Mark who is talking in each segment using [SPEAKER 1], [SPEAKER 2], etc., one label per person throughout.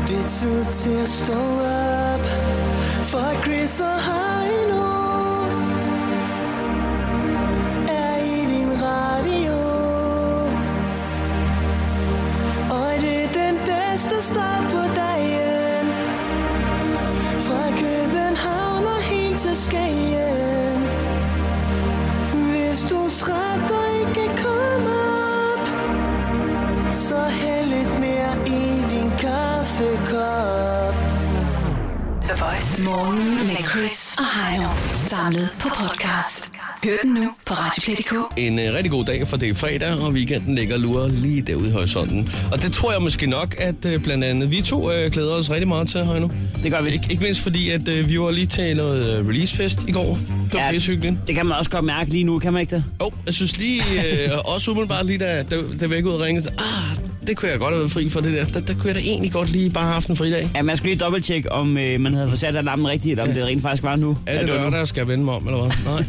[SPEAKER 1] altid til at stå op For Chris og Heino Er i din radio Og det er den bedste start på dagen Fra København og helt til Skagen Hvis du er træt og ikke kan komme op Så hæld lidt mere i din kaffekop
[SPEAKER 2] The Voice. Morgen med Chris og Heino. Samlet på podcast. Hør den nu på Radioplay.dk.
[SPEAKER 3] En øh, rigtig god dag, for det er fredag, og weekenden ligger og lurer lige derude i horisonten. Og det tror jeg måske nok, at øh, blandt andet vi to øh, glæder os rigtig meget til, Heino.
[SPEAKER 4] Det gør vi.
[SPEAKER 3] Ik- ikke mindst fordi, at øh, vi var lige til noget øh, releasefest i går. Det var
[SPEAKER 4] Ja.
[SPEAKER 3] ja.
[SPEAKER 4] Det kan man også godt mærke lige nu, kan man ikke det?
[SPEAKER 3] Jo, jeg synes lige, øh, også umiddelbart lige da, da, da væk ud og ringede, så, ah, det kunne jeg godt have været fri for det der. Der, der kunne jeg da egentlig godt lige bare have haft en fridag.
[SPEAKER 4] Ja, man skal lige dobbelttjekke, om øh, man havde forsat alarmen rigtigt, eller om det rent faktisk var nu.
[SPEAKER 3] Er
[SPEAKER 4] Ja,
[SPEAKER 3] det
[SPEAKER 4] var
[SPEAKER 3] lørdag,
[SPEAKER 4] nu.
[SPEAKER 3] der skal jeg vende mig om, eller hvad? Nej.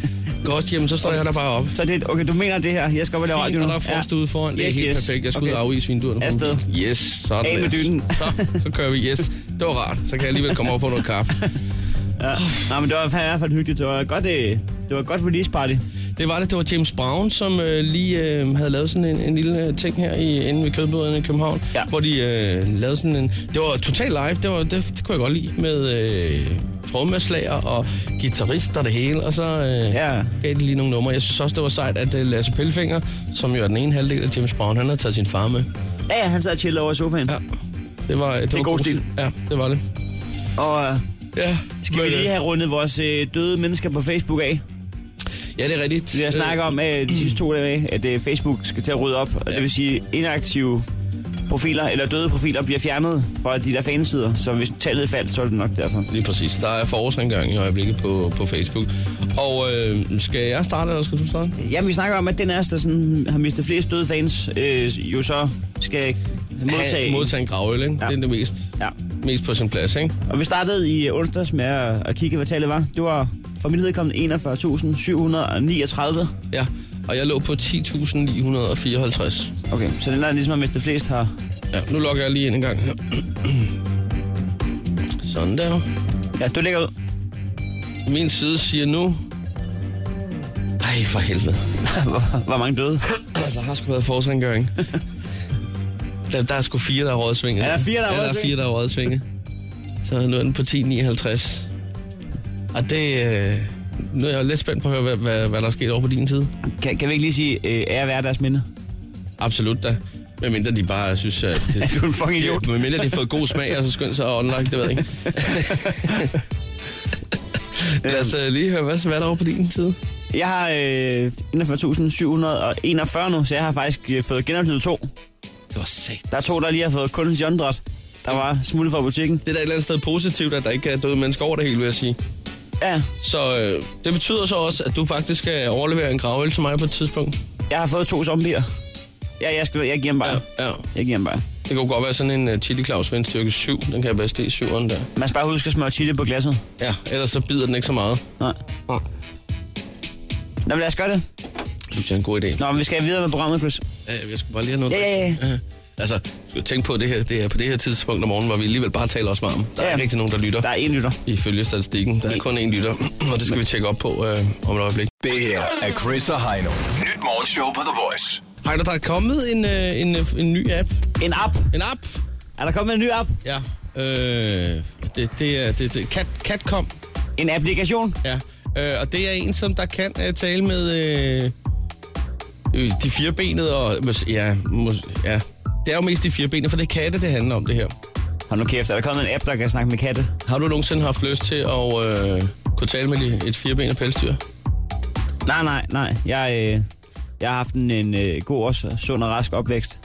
[SPEAKER 3] Godt, jamen så står jeg der bare op.
[SPEAKER 4] Så det, okay, du mener det her. Jeg skal op og lave radio
[SPEAKER 3] Fint,
[SPEAKER 4] nu.
[SPEAKER 3] og der er frost ja. ude foran. Det er
[SPEAKER 4] Yes,
[SPEAKER 3] helt
[SPEAKER 4] yes.
[SPEAKER 3] perfekt. Jeg skal okay. ud og afvise vinduerne.
[SPEAKER 4] Afsted.
[SPEAKER 3] Yes, sådan
[SPEAKER 4] Af med
[SPEAKER 3] der.
[SPEAKER 4] dynen.
[SPEAKER 3] Så, så kører vi. Yes, det var rart. Så kan jeg alligevel komme over og få noget kaffe.
[SPEAKER 4] Ja. Nej, men det var i hvert fald hyggeligt. Det var et godt, øh, det var et godt release party.
[SPEAKER 3] Det var det. Det var James Brown, som øh, lige øh, havde lavet sådan en, en lille øh, ting her i, inde ved kødbøderne i København.
[SPEAKER 4] Ja.
[SPEAKER 3] Hvor de øh, lavede sådan en... Det var totalt live. Det, var, det, det kunne jeg godt lide med øh, trommeslager og guitarist og det hele. Og så øh,
[SPEAKER 4] Ja.
[SPEAKER 3] gav de lige nogle numre. Jeg synes også, det var sejt, at øh, Lasse Pelfinger, som jo er den ene halvdel af James Brown, han havde taget sin far med.
[SPEAKER 4] Ja, ja, han sad og chillede over i sofaen.
[SPEAKER 3] Ja. Det var, det
[SPEAKER 4] er
[SPEAKER 3] var
[SPEAKER 4] god stil.
[SPEAKER 3] Ja, det var det.
[SPEAKER 4] Og øh,
[SPEAKER 3] Ja.
[SPEAKER 4] skal vi
[SPEAKER 3] Men, øh,
[SPEAKER 4] lige have rundet vores øh, døde mennesker på Facebook af?
[SPEAKER 3] Ja, det er rigtigt.
[SPEAKER 4] Vi har snakket om øh, de sidste to dage, at øh, Facebook skal til at rydde op. Og det vil sige, inaktive profiler, eller døde profiler, bliver fjernet fra de der fansider. Så hvis tallet faldt, så er det nok derfor.
[SPEAKER 3] Lige præcis. Der er forårsrengøring i øjeblikket på, på Facebook. Og øh, skal jeg starte, eller skal du starte?
[SPEAKER 4] Jamen, vi snakker om, at den af os, der sådan, har mistet flest døde fans, øh, jo så skal modtage.
[SPEAKER 3] Ha-
[SPEAKER 4] en.
[SPEAKER 3] modtage en gravøl, ikke? Ja.
[SPEAKER 4] Ja.
[SPEAKER 3] Det er det mest,
[SPEAKER 4] Ja.
[SPEAKER 3] mest på sin plads, ikke?
[SPEAKER 4] Og vi startede i onsdags med at, at kigge, hvad tallet var. Det var for mit vedkommende 41.739.
[SPEAKER 3] Ja. Og jeg lå på 10.954.
[SPEAKER 4] Okay, så den der ligesom har mistet flest har...
[SPEAKER 3] Ja, nu logger jeg lige ind en gang her. Sådan der.
[SPEAKER 4] Ja, du ligger ud.
[SPEAKER 3] Min side siger nu... Ej, for helvede.
[SPEAKER 4] hvor, hvor mange døde?
[SPEAKER 3] Der har sgu været forårsrengøring. Der, der er sgu fire, der har røget svinget.
[SPEAKER 4] Er der fire, der har
[SPEAKER 3] ja, der
[SPEAKER 4] røget
[SPEAKER 3] er fire,
[SPEAKER 4] svinget?
[SPEAKER 3] der har røget svinget. Så nu er den på 10,59. Og det... øh, Nu er jeg lidt spændt på at høre, hvad, hvad, hvad der er sket over på din side.
[SPEAKER 4] Kan, kan vi ikke lige sige, øh, ære være deres minde?
[SPEAKER 3] Absolut da. Med mindre de bare synes, at...
[SPEAKER 4] Er du en fucking idiot?
[SPEAKER 3] Med mindre de har fået god smag, og så skønt sig og online, det ved jeg ikke. Lad os øh, lige høre, hvad, hvad er der over på din side?
[SPEAKER 4] Jeg har øh, 41.741 nu, så jeg har faktisk øh, fået genoplevet to.
[SPEAKER 3] Det var sat.
[SPEAKER 4] Der er to, der lige har fået kundens jondret. Der var smuttet fra butikken.
[SPEAKER 3] Det er da et eller andet sted positivt, at der ikke er døde mennesker over det hele, vil jeg sige.
[SPEAKER 4] Ja,
[SPEAKER 3] Så øh, det betyder så også, at du faktisk skal overlevere en gravøl til mig på et tidspunkt.
[SPEAKER 4] jeg har fået to zombier. Ja, jeg, skal, jeg giver dem bare. Ja.
[SPEAKER 3] ja.
[SPEAKER 4] Jeg giver dem bare.
[SPEAKER 3] Det kunne godt være sådan en uh, Chili Claus vindstyrke 7. Den kan jeg bedst lide 7'eren der.
[SPEAKER 4] Man skal bare huske at smøre chili på glasset.
[SPEAKER 3] Ja, ellers så bider den ikke så meget.
[SPEAKER 4] Nej.
[SPEAKER 3] Nej.
[SPEAKER 4] Nå, men lad os gøre det.
[SPEAKER 3] Det synes jeg er en god idé.
[SPEAKER 4] Nå, men vi skal videre med programmet, Chris.
[SPEAKER 3] Øh, jeg skulle bare lige have noget.
[SPEAKER 4] Ja, ja, ja.
[SPEAKER 3] Øh, altså, skal tænke på det her. Det er på det her tidspunkt om morgenen, hvor vi alligevel bare taler os varme. Der er
[SPEAKER 4] Ja.
[SPEAKER 3] ikke rigtig nogen, der lytter.
[SPEAKER 4] Der er en lytter.
[SPEAKER 3] Ifølge statistikken. Der er kun én lytter, og det skal vi tjekke op på øh, om et øjeblik.
[SPEAKER 5] Det her er Chris og Heino. Nyt morgenshow på The Voice.
[SPEAKER 3] Heiner, der er kommet en, øh, en, øh, en ny app.
[SPEAKER 4] En app.
[SPEAKER 3] En app?
[SPEAKER 4] Er der kommet en ny app?
[SPEAKER 3] Ja. Øh, det, det er... Det, det, Cat, Catcom.
[SPEAKER 4] En applikation?
[SPEAKER 3] Ja, øh, og det er en, som der kan øh, tale med øh, øh, de firebenede og... mås- Ja, mås- ja, det er jo mest de firebenede, for det er katte, det handler om det her.
[SPEAKER 4] Hold nu kæft, er der kommet en app, der kan snakke med katte?
[SPEAKER 3] Har du nogensinde haft lyst til at øh, kunne tale med de- et firebenet pelsdyr?
[SPEAKER 4] Nej, nej, nej. Jeg, øh, jeg har haft en, en øh, god og sund og rask opvækst.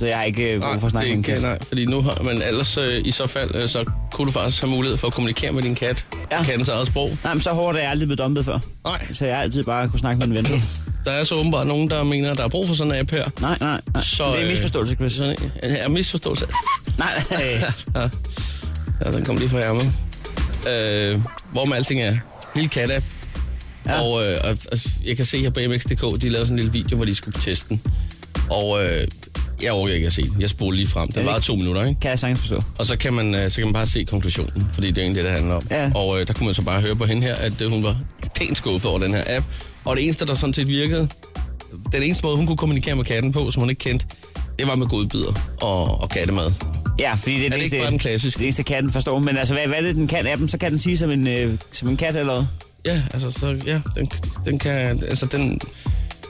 [SPEAKER 4] Så jeg har ikke øh, brug for at snakke med en
[SPEAKER 3] det
[SPEAKER 4] kat.
[SPEAKER 3] nej, fordi nu har man ellers øh, i så fald, øh, så kunne du faktisk have mulighed for at kommunikere med din kat. Ja.
[SPEAKER 4] Ja.
[SPEAKER 3] Kattens eget sprog.
[SPEAKER 4] Nej, men så hårdt er jeg aldrig blevet dumpet før.
[SPEAKER 3] Nej,
[SPEAKER 4] Så jeg har altid bare kunne snakke med en ven.
[SPEAKER 3] der er så åbenbart nogen, der mener, at der er brug for sådan en app her.
[SPEAKER 4] Nej, nej, nej.
[SPEAKER 3] Så,
[SPEAKER 4] Så, det er
[SPEAKER 3] øh,
[SPEAKER 4] en misforståelse, Chris.
[SPEAKER 3] Sådan en ja, misforståelse.
[SPEAKER 4] Nej, øh,
[SPEAKER 3] ja. ja, den kom lige fra ærmet. Øh, hvor med alting er. Lille kat ja.
[SPEAKER 4] Ja.
[SPEAKER 3] og, øh, og, og, jeg kan se her på MX.dk, de lavede sådan en lille video, hvor de skulle teste den. Og øh, Jeg orker ikke at se den. Jeg spoler lige frem. Den
[SPEAKER 4] det
[SPEAKER 3] var
[SPEAKER 4] ikke-
[SPEAKER 3] to minutter, ikke?
[SPEAKER 4] Kan jeg sagtens forstå.
[SPEAKER 3] Og så kan, man, øh, så kan man bare se konklusionen, fordi det er egentlig det, det handler om.
[SPEAKER 4] Ja.
[SPEAKER 3] Og øh, der kunne man så bare høre på hende her, at øh, hun var pænt skuffet over den her app. Og det eneste, der sådan set virkede, den eneste måde, hun kunne kommunikere med katten på, som hun ikke kendte, det var med godbider og, og kattemad.
[SPEAKER 4] Ja, fordi det er,
[SPEAKER 3] det
[SPEAKER 4] det,
[SPEAKER 3] ikke
[SPEAKER 4] eneste,
[SPEAKER 3] bare den klassiske?
[SPEAKER 4] Det eneste katten forstår. Men altså, hvad, hvad er det, den kan af dem? Så kan den sige som en, øh, som en kat eller hvad?
[SPEAKER 3] Ja, altså, så, ja, den, den kan, altså, den,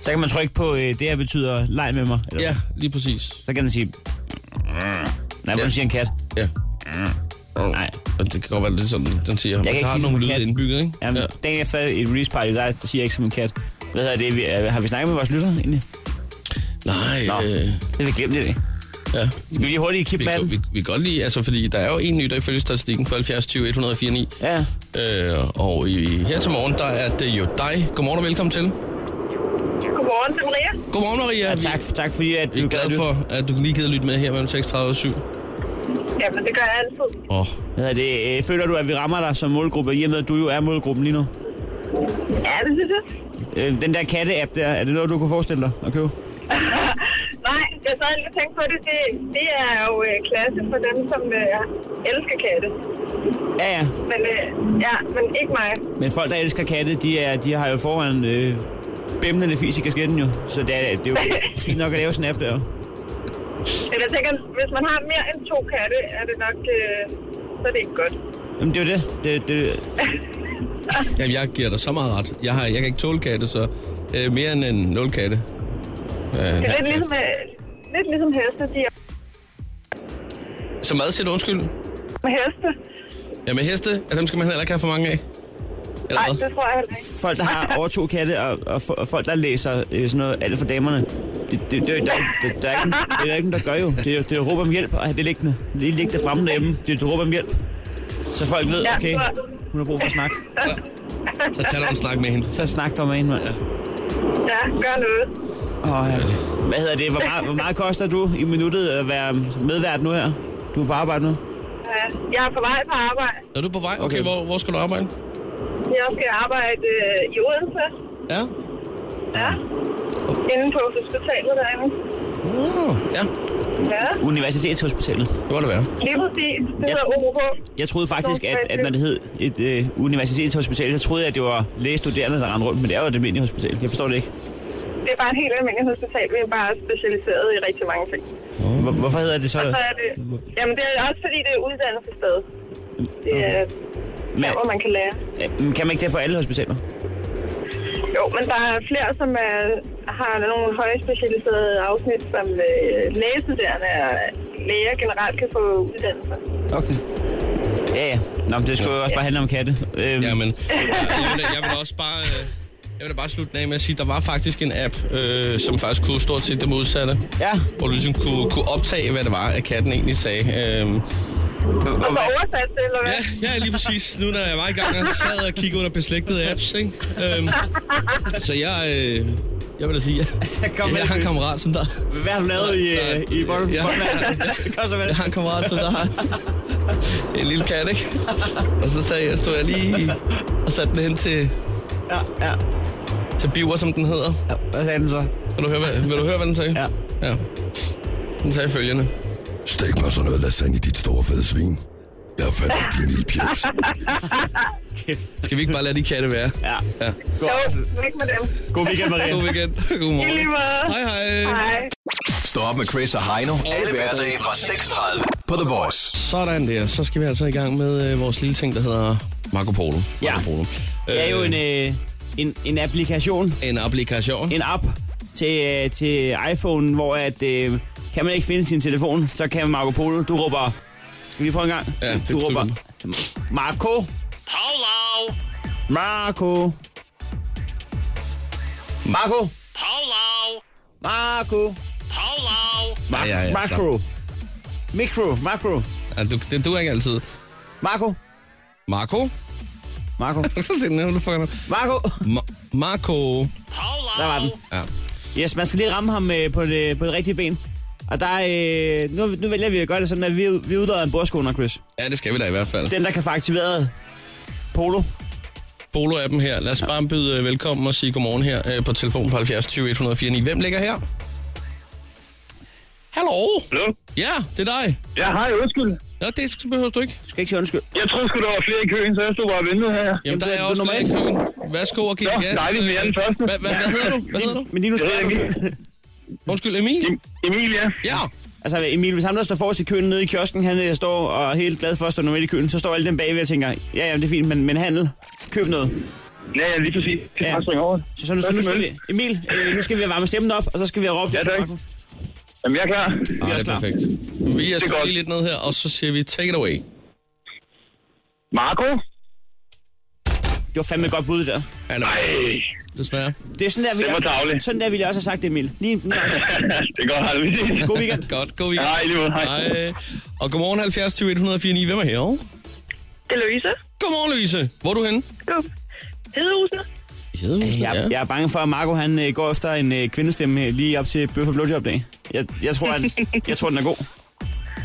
[SPEAKER 4] Så kan man trykke på, øh, det her betyder leg med mig. Eller,
[SPEAKER 3] ja, lige præcis.
[SPEAKER 4] Så kan den sige... Nej,
[SPEAKER 3] Ja.
[SPEAKER 4] hvordan siger en kat?
[SPEAKER 3] Ja.
[SPEAKER 4] Nej.
[SPEAKER 3] Og det kan godt være lidt sådan, den siger, jeg
[SPEAKER 4] Mm. ikke
[SPEAKER 3] har
[SPEAKER 4] sige som
[SPEAKER 3] nogle
[SPEAKER 4] en
[SPEAKER 3] lyde
[SPEAKER 4] kat.
[SPEAKER 3] indbygget, ikke?
[SPEAKER 4] Jamen, ja. dagen efter et release party, der siger jeg ikke som en kat. Hvad hedder det? Vi, øh, har vi snakket med vores lytter egentlig?
[SPEAKER 3] Nej,
[SPEAKER 4] Nå,
[SPEAKER 3] øh,
[SPEAKER 4] det har vi glemt i dag.
[SPEAKER 3] ja.
[SPEAKER 4] Skal vi lige hurtigt
[SPEAKER 3] Vi,
[SPEAKER 4] kippe med
[SPEAKER 3] kan-
[SPEAKER 4] den?
[SPEAKER 3] vi, vi, kan godt lide, altså fordi der er jo en lytter ifølge statistikken på 70 20 104 9.
[SPEAKER 4] Ja.
[SPEAKER 3] Øh, og i, her til morgen, der er det jo dig. Godmorgen og velkommen til.
[SPEAKER 6] Godmorgen til Maria.
[SPEAKER 3] Godmorgen, Maria.
[SPEAKER 4] Og tak, tak fordi at
[SPEAKER 3] Vi
[SPEAKER 4] du
[SPEAKER 3] er glade
[SPEAKER 4] for...
[SPEAKER 3] for, at du lige gider lytte med her mellem 36 og 7. Åh,
[SPEAKER 6] Jamen, det gør jeg altid.
[SPEAKER 3] oh,
[SPEAKER 4] Hvad hedder det? Øh, føler du, at vi rammer dig som målgruppe, i og med at du jo er målgruppen lige nu?
[SPEAKER 6] Ja, det synes jeg.
[SPEAKER 4] Øh, den der katte-app der, er det noget, du kunne forestille dig at købe?
[SPEAKER 6] Nej, jeg sad lige og tænkte på det. Det, det er jo øh, klasse for dem, som øh, elsker katte.
[SPEAKER 4] Ja, ja.
[SPEAKER 6] Men øh, ja, men ikke mig.
[SPEAKER 4] Men folk, der elsker katte, de, er, de har jo foran øh, bimlende fis i kasketten jo. Så det er, det er jo fint nok at lave sådan en app der.
[SPEAKER 6] Eller jeg tænker, hvis man har mere end to katte, er det nok... Øh, så er det ikke godt.
[SPEAKER 4] Jamen, det er jo det. det, det
[SPEAKER 3] jamen, jeg giver dig så meget ret. Jeg, har, jeg kan ikke tåle katte, så øh, mere end en nul katte. Øh,
[SPEAKER 6] Det er lidt ligesom, øh, lidt ligesom heste. De er
[SPEAKER 3] så meget siger du undskyld.
[SPEAKER 6] med heste.
[SPEAKER 3] Jamen heste, at dem skal man heller ikke have for mange af. Eller
[SPEAKER 6] Nej,
[SPEAKER 3] hvad?
[SPEAKER 6] det tror jeg heller ikke.
[SPEAKER 4] folk, der har over to katte, og, og, fo- og folk, der læser øh, sådan noget, alt for damerne, det, det, det, der, der, der, er ikke, det er der ikke nogen, der gør jo. Det er jo det er råb om hjælp at have det liggende. Lige ligge det fremme derhjemme. Det er et råb om hjælp. Så folk ved,
[SPEAKER 6] Ja,
[SPEAKER 4] okay,
[SPEAKER 6] tror-
[SPEAKER 4] hun har brug for at snakke.
[SPEAKER 3] Så tag dig en snak med hende.
[SPEAKER 4] Så snak dog med hende, mand.
[SPEAKER 6] Ja, gør noget.
[SPEAKER 4] Åh, ja. Hvad hedder det? Hvor meget, hvor meget koster du i minuttet at være medvært nu her? Du er på arbejde nu?
[SPEAKER 6] Ja, jeg er på vej på arbejde.
[SPEAKER 3] Er du på vej? Okay, okay.
[SPEAKER 4] Okay.
[SPEAKER 3] Hvor, hvor skal du arbejde?
[SPEAKER 6] Jeg skal arbejde øh, i Odense.
[SPEAKER 3] Ja.
[SPEAKER 6] Ja. Inde på hospitalet derinde.
[SPEAKER 3] Uh, ja,
[SPEAKER 6] Ja.
[SPEAKER 4] Universitetshospitalet.
[SPEAKER 3] det var det være.
[SPEAKER 6] Lige præcis.
[SPEAKER 4] Ja.
[SPEAKER 6] Det hedder OH.
[SPEAKER 4] Jeg troede faktisk, at, at når det hed et øh, universitetshospital, så troede jeg, at det var lægestuderende, der rendte rundt, men det er jo et almindeligt hospital. Jeg forstår det ikke.
[SPEAKER 6] Det er bare et helt almindeligt hospital. Vi er bare specialiseret i rigtig mange ting.
[SPEAKER 4] Hvor, hvorfor hedder det så?
[SPEAKER 6] Og så er det... Jamen, det er også fordi, det er uddannelsessted. Det er der, hvor man kan lære.
[SPEAKER 4] Men, øh, kan man ikke det på alle hospitaler?
[SPEAKER 6] Jo, men der er flere, som er, har nogle højspecialiserede afsnit, som øh, lægestuderende og læger generelt kan få uddannelse.
[SPEAKER 4] Okay. Ja, ja. Nå, men det skulle jo også bare handle om katte.
[SPEAKER 3] Jamen,
[SPEAKER 4] Øhm,
[SPEAKER 3] jeg, jeg, vil, da- jeg vil da også bare... øh, Jeg vil da bare slutte den af med at sige, at der var faktisk en app, øh, som faktisk kunne stort set det modsatte.
[SPEAKER 4] Ja.
[SPEAKER 3] Hvor du ligesom kunne, kunne optage, hvad det var, at katten egentlig sagde. Øh,
[SPEAKER 6] Og så oversat det, eller hvad?
[SPEAKER 3] ja, ja, lige præcis. Nu når jeg var i gang, og sad og kiggede under beslægtede apps, ikke? Øh, så jeg... Øh, jeg vil da sige, jeg,
[SPEAKER 4] kom med
[SPEAKER 3] jeg har en
[SPEAKER 4] det.
[SPEAKER 3] kammerat som dig.
[SPEAKER 4] Hvad har du lavet i, øh, i Bolden?
[SPEAKER 3] Ja.
[SPEAKER 4] Ja. Kom så med
[SPEAKER 3] Jeg
[SPEAKER 4] det.
[SPEAKER 3] har en kammerat, som der har en lille kat, ikke? Og så sagde jeg, stod jeg lige og satte den hen til,
[SPEAKER 4] Ja, ja.
[SPEAKER 3] til Biver, som den hedder.
[SPEAKER 4] Ja, Hvad sagde den så?
[SPEAKER 3] Vil du høre, hvad, vil du høre, hvad den sagde?
[SPEAKER 4] Ja.
[SPEAKER 3] ja. Den sagde følgende.
[SPEAKER 7] Stik mig sådan noget lasagne, dit store fede svin. Jeg fandt din lille pjevs.
[SPEAKER 3] Skal vi ikke bare lade de katte være?
[SPEAKER 4] Ja.
[SPEAKER 3] ja.
[SPEAKER 6] Jo, væk med dem.
[SPEAKER 4] God weekend, Maria.
[SPEAKER 3] God weekend. God
[SPEAKER 6] I
[SPEAKER 3] morgen.
[SPEAKER 6] lige måde.
[SPEAKER 3] Hej, hej.
[SPEAKER 6] Hej.
[SPEAKER 5] Stå op med Chris og Heino. Alle hverdage fra 6.30 på The Voice.
[SPEAKER 3] Sådan der. Så skal vi altså i gang med øh, vores lille ting, der hedder Marco Polo.
[SPEAKER 4] Ja.
[SPEAKER 3] Marco Polo.
[SPEAKER 4] Det er jo en, øh, en, en applikation,
[SPEAKER 3] En applikation.
[SPEAKER 4] en app til, øh, til iPhone, hvor at, øh, kan man ikke finde sin telefon, så kan Marco Polo, du råber, skal vi prøve en gang?
[SPEAKER 3] Ja, det
[SPEAKER 4] du
[SPEAKER 3] er
[SPEAKER 4] råber, Marco. Polo. Marco. Marco. Polo. Marco. Polo. Mar-
[SPEAKER 3] Ja, ja, ja, så.
[SPEAKER 4] Macro. Mikro. Macro.
[SPEAKER 3] Ja, du, det du er ikke altid.
[SPEAKER 4] Marco.
[SPEAKER 3] Marco?
[SPEAKER 4] Marco.
[SPEAKER 3] Så siger den, nu er du fucking op.
[SPEAKER 4] Marco.
[SPEAKER 3] Ma- Marco.
[SPEAKER 4] Der var den.
[SPEAKER 3] Ja.
[SPEAKER 4] Yes, man skal lige ramme ham øh, på, det, på det rigtige ben. Og der, øh, nu, nu vælger vi at gøre det sådan, at vi, vi udlader en bordskåner, Chris.
[SPEAKER 3] Ja, det skal vi da i hvert fald.
[SPEAKER 4] Den, der kan få aktiveret Polo.
[SPEAKER 3] Polo-appen her. Lad os bare byde øh, velkommen og sige godmorgen her øh, på telefon på 70 20 149. Hvem ligger her? Hallo?
[SPEAKER 8] Hallo?
[SPEAKER 3] Ja, det er dig.
[SPEAKER 8] Ja, hej, undskyld.
[SPEAKER 3] Nå, det behøver du ikke.
[SPEAKER 4] Du skal ikke sige undskyld.
[SPEAKER 8] Jeg troede sgu, der var flere i køen, så jeg stod bare og ventede her.
[SPEAKER 3] Jamen, der
[SPEAKER 4] det
[SPEAKER 3] er
[SPEAKER 4] er
[SPEAKER 3] også
[SPEAKER 4] normalt.
[SPEAKER 3] normalt køen. Værsgo og giv
[SPEAKER 8] Nå,
[SPEAKER 3] gas.
[SPEAKER 8] dejligt, vi er den første.
[SPEAKER 3] Hvad, hvad, hvad hedder du? Hvad hedder du?
[SPEAKER 4] Men lige nu
[SPEAKER 8] Jeg ved
[SPEAKER 4] spørger
[SPEAKER 8] ikke.
[SPEAKER 4] du.
[SPEAKER 3] Undskyld, Emil?
[SPEAKER 8] Em- Emilia?
[SPEAKER 3] Ja.
[SPEAKER 4] Altså Emil, hvis ham der står forrest i køen nede i kiosken, han øh, står og er helt glad for at stå normalt i køen, så står alle dem bagved og tænker, ja ja, det er fint, men, men handel, køb noget.
[SPEAKER 8] Ja, ja, lige præcis. Kan
[SPEAKER 4] Ja.
[SPEAKER 8] ja. springe over?
[SPEAKER 4] Så, så, nu, så nu skal vi, Emil, øh, nu skal vi have varmet stemmen op, og så skal vi have råbt.
[SPEAKER 8] Ja, tak. Jamen, jeg er klar.
[SPEAKER 3] Ah, det er
[SPEAKER 4] klar.
[SPEAKER 3] perfekt. Vi er skruet
[SPEAKER 8] godt.
[SPEAKER 3] lige lidt ned her, og så siger vi, take it away.
[SPEAKER 8] Marco?
[SPEAKER 4] Det var fandme et godt bud der.
[SPEAKER 3] Han er
[SPEAKER 8] Nej,
[SPEAKER 3] desværre.
[SPEAKER 4] Det er sådan der, vi
[SPEAKER 8] Det var tarveligt.
[SPEAKER 4] sådan der ville jeg også have sagt det, Emil. Lige en
[SPEAKER 8] det går aldrig.
[SPEAKER 4] god weekend.
[SPEAKER 3] Godt, god weekend.
[SPEAKER 8] Hej, lige måde. Hej.
[SPEAKER 3] Hej. Og godmorgen 70 20 149. Hvem er her?
[SPEAKER 6] Det er Louise.
[SPEAKER 3] Godmorgen, Louise. Hvor er du henne?
[SPEAKER 6] Jo. Hedehusene.
[SPEAKER 3] Hedehusen,
[SPEAKER 4] Jeg, jeg er bange for, at Marco han øh, går efter en øh, kvindestemme øh, lige op til Bøf og Blowjob dag. Jeg, jeg, tror, at, jeg tror, den er god.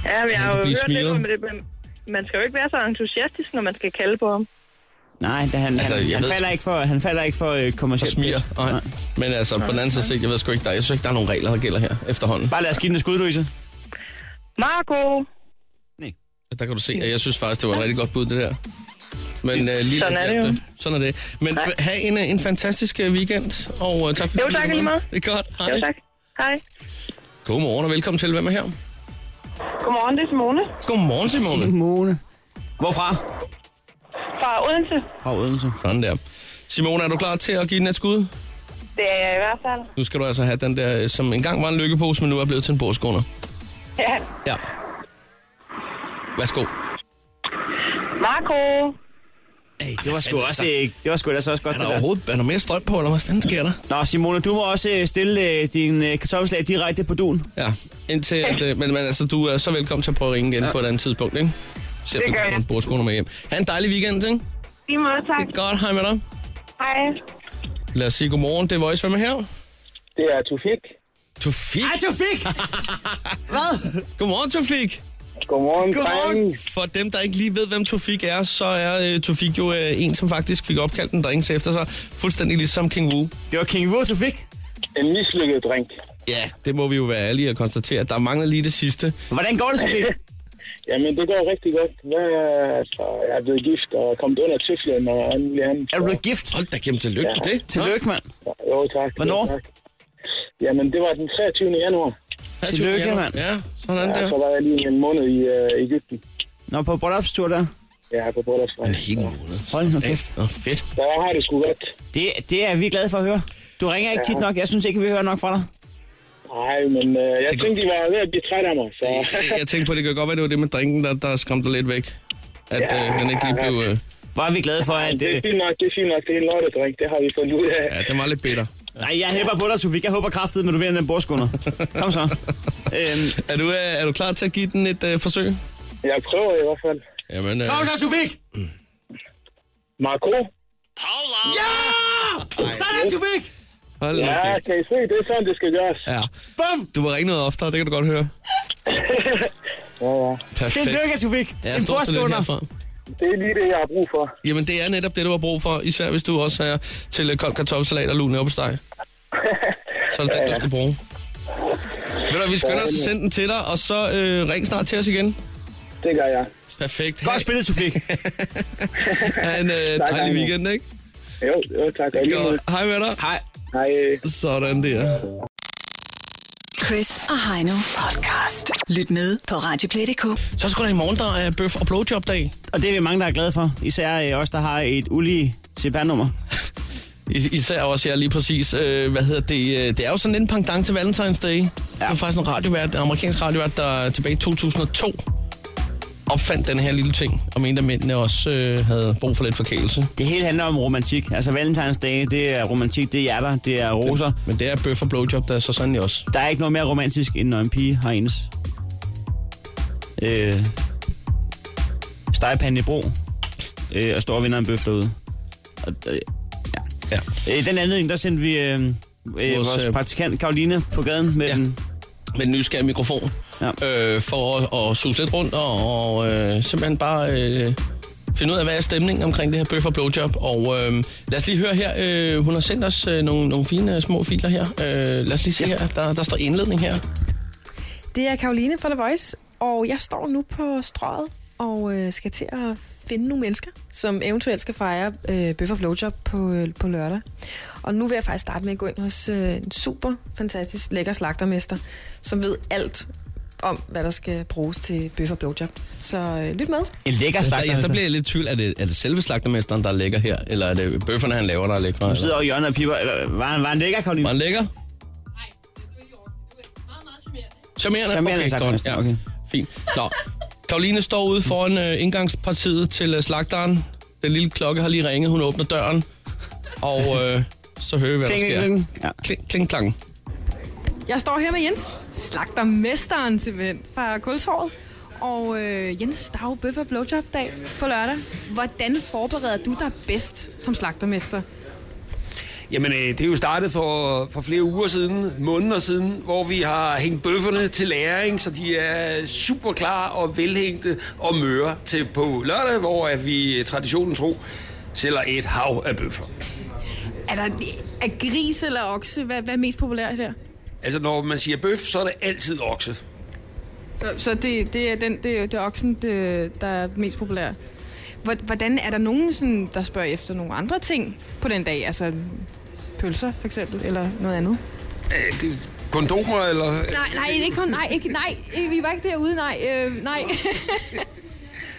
[SPEAKER 6] Ja, men jeg
[SPEAKER 3] Han kan
[SPEAKER 6] har jo
[SPEAKER 3] blive
[SPEAKER 6] hørt lidt
[SPEAKER 3] smiret.
[SPEAKER 6] om det, men man skal jo ikke være så entusiastisk, når man skal kalde på ham.
[SPEAKER 4] Nej, da han,
[SPEAKER 3] Altså,
[SPEAKER 4] altså, han,
[SPEAKER 3] jeg
[SPEAKER 4] han,
[SPEAKER 3] ved-
[SPEAKER 4] falder ikke for, han falder ikke for øh,
[SPEAKER 3] Og
[SPEAKER 4] kommersielt.
[SPEAKER 3] smiger.
[SPEAKER 4] pis.
[SPEAKER 3] Nej. Men altså, på den anden side set, jeg ved sgu ikke, der, jeg synes ikke, der er nogen regler, der gælder her efterhånden.
[SPEAKER 4] Bare lad os give den et skud, Louise.
[SPEAKER 6] Marco,
[SPEAKER 3] Der kan du se, at jeg synes faktisk, det var et rigtig godt bud, det der. Men uh, lige
[SPEAKER 6] Sådan er det jo.
[SPEAKER 3] lidt, øh, Sådan er det. Men
[SPEAKER 6] Nej.
[SPEAKER 3] have en, øh, en fantastisk øh, weekend, og uh, tak for
[SPEAKER 6] Jo,
[SPEAKER 3] du
[SPEAKER 6] tak,
[SPEAKER 3] var med.
[SPEAKER 6] lige meget.
[SPEAKER 3] Det er godt. Hej.
[SPEAKER 6] Jo, tak. Hej.
[SPEAKER 3] Godmorgen og velkommen til. Hvem er her?
[SPEAKER 6] Godmorgen, det er Simone
[SPEAKER 3] Godmorgen, Simone.
[SPEAKER 4] Simone. Hvorfra?
[SPEAKER 6] fra Odense.
[SPEAKER 4] Fra Odense.
[SPEAKER 3] Sådan der. Simone, er du klar til at give den et skud?
[SPEAKER 6] Det er jeg i hvert fald.
[SPEAKER 3] Nu skal du altså have den der, øh, som engang var en lykkepose, men nu er blevet til en bordskunder.
[SPEAKER 6] Ja.
[SPEAKER 3] Ja. Værsgo.
[SPEAKER 6] Marco,
[SPEAKER 4] Ej, det var sgu også, øh, det var sgu ellers også godt.
[SPEAKER 3] Er der
[SPEAKER 4] det der.
[SPEAKER 3] overhovedet er der mere strøm på, eller hvad fanden sker der?
[SPEAKER 4] Nå, Simone, du må også øh, stille øh, din øh, kartoffelslag direkte på duen.
[SPEAKER 3] Ja, indtil at, øh, men, men altså, du er så velkommen til at prøve at ringe igen ja. på et andet tidspunkt, ikke? Se om
[SPEAKER 6] Det
[SPEAKER 3] du
[SPEAKER 6] gør
[SPEAKER 3] kan få
[SPEAKER 6] jeg.
[SPEAKER 3] en bordskoner med hjem. Ha' en dejlig weekend, ikke?
[SPEAKER 6] lige måde, tak.
[SPEAKER 3] Godt, hej med dig.
[SPEAKER 6] Hej.
[SPEAKER 3] Lad os sige godmorgen. Det er Voice, hvem er her?
[SPEAKER 8] Det er Tufik.
[SPEAKER 3] Tufik.
[SPEAKER 4] Ej, du fik! Hvad?
[SPEAKER 3] Godmorgen, Tufik.
[SPEAKER 8] Godmorgen,
[SPEAKER 4] Godmorgen.
[SPEAKER 8] drenge.
[SPEAKER 3] For dem, der ikke lige ved, hvem Tufik er, så er øh, Tufik jo øh, en, som faktisk fik opkaldt en drink efter sig. Fuldstændig ligesom King Wu.
[SPEAKER 4] Det var King Wu, du fik.
[SPEAKER 8] En mislykket drink.
[SPEAKER 3] Ja, det må vi jo være ærlige og konstatere. Der mangler lige det sidste.
[SPEAKER 4] Hvordan går det, du fik?
[SPEAKER 8] Jamen, det går rigtig godt. Hvad, altså, jeg er blevet gift og kommet under tøflen og alt muligt andet.
[SPEAKER 4] Er du blevet gift?
[SPEAKER 3] Hold da kæmpe tillykke med det.
[SPEAKER 4] Tillykke, mand.
[SPEAKER 8] Jo, tak.
[SPEAKER 4] Hvornår?
[SPEAKER 8] Jo, tak. Jamen, det var den 23. januar.
[SPEAKER 3] Ja,
[SPEAKER 4] Tillykke, mand.
[SPEAKER 3] Ja, sådan
[SPEAKER 8] Ja, så
[SPEAKER 3] der.
[SPEAKER 8] var jeg lige en måned i øh, Ægypten.
[SPEAKER 4] Nå, på bryllupstur der.
[SPEAKER 8] Ja, på bryllupsrejse.
[SPEAKER 3] En hel måned.
[SPEAKER 4] Hold nu kæft.
[SPEAKER 3] Nå, fedt.
[SPEAKER 8] Så jeg har det sgu godt.
[SPEAKER 4] Det, det er vi glade for at høre. Du ringer ikke tit nok. Jeg synes ikke, vi hører nok fra dig.
[SPEAKER 8] Nej, men øh, jeg
[SPEAKER 3] Det går-
[SPEAKER 8] tænkte, de var ved at blive træt af mig, så...
[SPEAKER 3] Jeg- jeg tænkte på, at det kan godt være, det var det med drinken, der, der skræmte dig lidt væk. At ja, øh, den ikke lige blev... Øh,
[SPEAKER 4] Hvor er vi glade for, at...
[SPEAKER 8] Det er
[SPEAKER 4] Øh...
[SPEAKER 8] fint nok, det er fint nok. Det er en lørdag, Det har vi fundet ud af.
[SPEAKER 3] ja, den var lidt bitter.
[SPEAKER 4] Nej, jeg hæpper på dig, Sofie. Jeg håber kraftigt, men du vinder den bordskunder. Kom så. Øhm,
[SPEAKER 3] Er du, øh, er du klar til at give den et øh, forsøg?
[SPEAKER 8] Jeg prøver i hvert fald.
[SPEAKER 3] Jamen, øh,
[SPEAKER 4] kom så, Sofie!
[SPEAKER 8] Marco?
[SPEAKER 4] Ja! Sådan, Sofie!
[SPEAKER 3] hold nu
[SPEAKER 8] Ja,
[SPEAKER 3] kæft.
[SPEAKER 8] kan I se? Det er sådan, det skal gøres.
[SPEAKER 3] Ja.
[SPEAKER 4] Bum!
[SPEAKER 3] Du må ringe noget oftere, det kan du godt høre.
[SPEAKER 8] Ja, ja.
[SPEAKER 3] Perfekt.
[SPEAKER 4] Tillykke, Sofie.
[SPEAKER 3] Ja,
[SPEAKER 4] en
[SPEAKER 3] stort tillykke
[SPEAKER 4] bordskunder.
[SPEAKER 3] herfra.
[SPEAKER 8] Det er lige det, jeg har brug for.
[SPEAKER 3] Jamen, det er netop det, du har brug for, især hvis du også er til øh, kold kartoffelsalat og lune op hos dig. Så er det den, du skal bruge. Ved du, vi skynder os at sende den til dig, og så øh, ring snart til os igen.
[SPEAKER 8] Det gør jeg.
[SPEAKER 3] Perfekt.
[SPEAKER 4] Godt
[SPEAKER 3] Ha'
[SPEAKER 4] spillet, Sofie.
[SPEAKER 3] ha' en øh, dejlig
[SPEAKER 8] Daniel.
[SPEAKER 3] weekend, ikke?
[SPEAKER 8] Jo, jo tak. Og i lige måde.
[SPEAKER 3] Godt. Hej med dig.
[SPEAKER 4] Hej.
[SPEAKER 8] Hej.
[SPEAKER 3] Sådan der.
[SPEAKER 2] Chris og Heino podcast. Lyt med på Radioplay.dk.
[SPEAKER 3] Så skulle der i morgen, der er bøf- og blowjob-dag.
[SPEAKER 4] Og det er vi mange, der er glade for. Især øh, os, der har et ulige CPR-nummer.
[SPEAKER 3] Is- især også jeg lige præcis. Øh, hvad hedder det? øh, Det er jo sådan lidt en pendant til Valentine's Day. Ja. Det var faktisk en radiovært, en amerikansk radiovært, der tilbage i 2002 opfandt den her lille ting, og mente, at mændene også øh, havde brug for lidt forkælelse.
[SPEAKER 4] Det hele handler om romantik. Altså, valentinsdag, det er romantik, det er hjerter, det er roser.
[SPEAKER 3] Men det er bøf og blowjob, der er så sandelig også.
[SPEAKER 4] Der er ikke noget mere romantisk, end når en pige har ens øh, stegepande i bro, øh, og står og vinder en bøf derude. Og, øh,
[SPEAKER 3] Ja.
[SPEAKER 4] ja. øh, den anledning, der sendte vi øh, øh,
[SPEAKER 3] øh,
[SPEAKER 4] vores, vores praktikant Karoline på gaden med
[SPEAKER 3] Ja.
[SPEAKER 4] ja. den.
[SPEAKER 3] Med en nysgerrig mikrofon.
[SPEAKER 4] Ja.
[SPEAKER 3] Øh, for at, at suge lidt rundt og, og øh, simpelthen bare øh, finde ud af, hvad er stemningen omkring det her bøf og blowjob. Og øh, lad os lige høre her. Øh, hun har sendt os øh, nogle, nogle fine øh, små filer her. Øh, lad os lige se her. Der, der står indledning her.
[SPEAKER 9] Det er Karoline fra The Voice, og jeg står nu på strået og øh, skal til at finde nogle mennesker, som eventuelt skal fejre øh, Bøf og Blowjob på, øh, på lørdag. Og nu vil jeg faktisk starte med at gå ind hos øh, en super fantastisk lækker slagtermester, som ved alt om, hvad der skal bruges til Bøf og Blowjob. Så øh, lyt med.
[SPEAKER 4] En lækker
[SPEAKER 3] Altså,
[SPEAKER 4] slagter.
[SPEAKER 3] der, ja, der bliver jeg lidt i tvivl. Er det, er det selve slagtermesteren, der er lækker her? Eller er det bøfferne, han laver, der er lækre?
[SPEAKER 4] Du
[SPEAKER 3] eller?
[SPEAKER 4] sidder over i hjørnet og piper. Eller, Var han, var han lækker, Karoline?
[SPEAKER 3] Var han lækker? Charmerende? Okay,
[SPEAKER 4] Charmerende
[SPEAKER 3] godt.
[SPEAKER 4] slagtermester,
[SPEAKER 3] Ja.
[SPEAKER 4] okay.
[SPEAKER 3] Fint. Nå. Karoline står ude foran øh, indgangspartiet til øh, slagteren. Den lille klokke har lige ringet. Hun åbner døren. Og øh, så hører vi, hvad der
[SPEAKER 4] Kling,
[SPEAKER 3] sker.
[SPEAKER 4] kling. Ja.
[SPEAKER 3] Kling, kling, klang.
[SPEAKER 9] Jeg står her med Jens, slagtermesteren simpelthen fra Kultorvet. Og øh, Jens, der er jo bøf- og blowjob-dag på lørdag. Hvordan forbereder du dig bedst som slagtermester?
[SPEAKER 10] Jamen, øh, det er jo startet for, for flere uger siden, måneder siden, hvor vi har hængt bøfferne til læring, så de er super klar og velhængte og møre til på lørdag, hvor at vi øh, traditionen tro sælger et hav af bøffer.
[SPEAKER 9] Er der er gris eller okse? Hvad, hvad er mest populært her?
[SPEAKER 10] Altså, når man siger bøf, så er det altid okse.
[SPEAKER 9] Så, så det, det, er den, det, er- det er oksen, det, der er mest populær. Hvor- Hvordan er der nogen, sådan, der spørger efter nogle andre ting på den dag? Altså pølser for eksempel, eller noget andet?
[SPEAKER 10] Øh, det, kondomer eller...
[SPEAKER 9] Nej, nej, ikke kun, nej, ikke, nej, øh, vi var ikke derude, nej, øh, nej.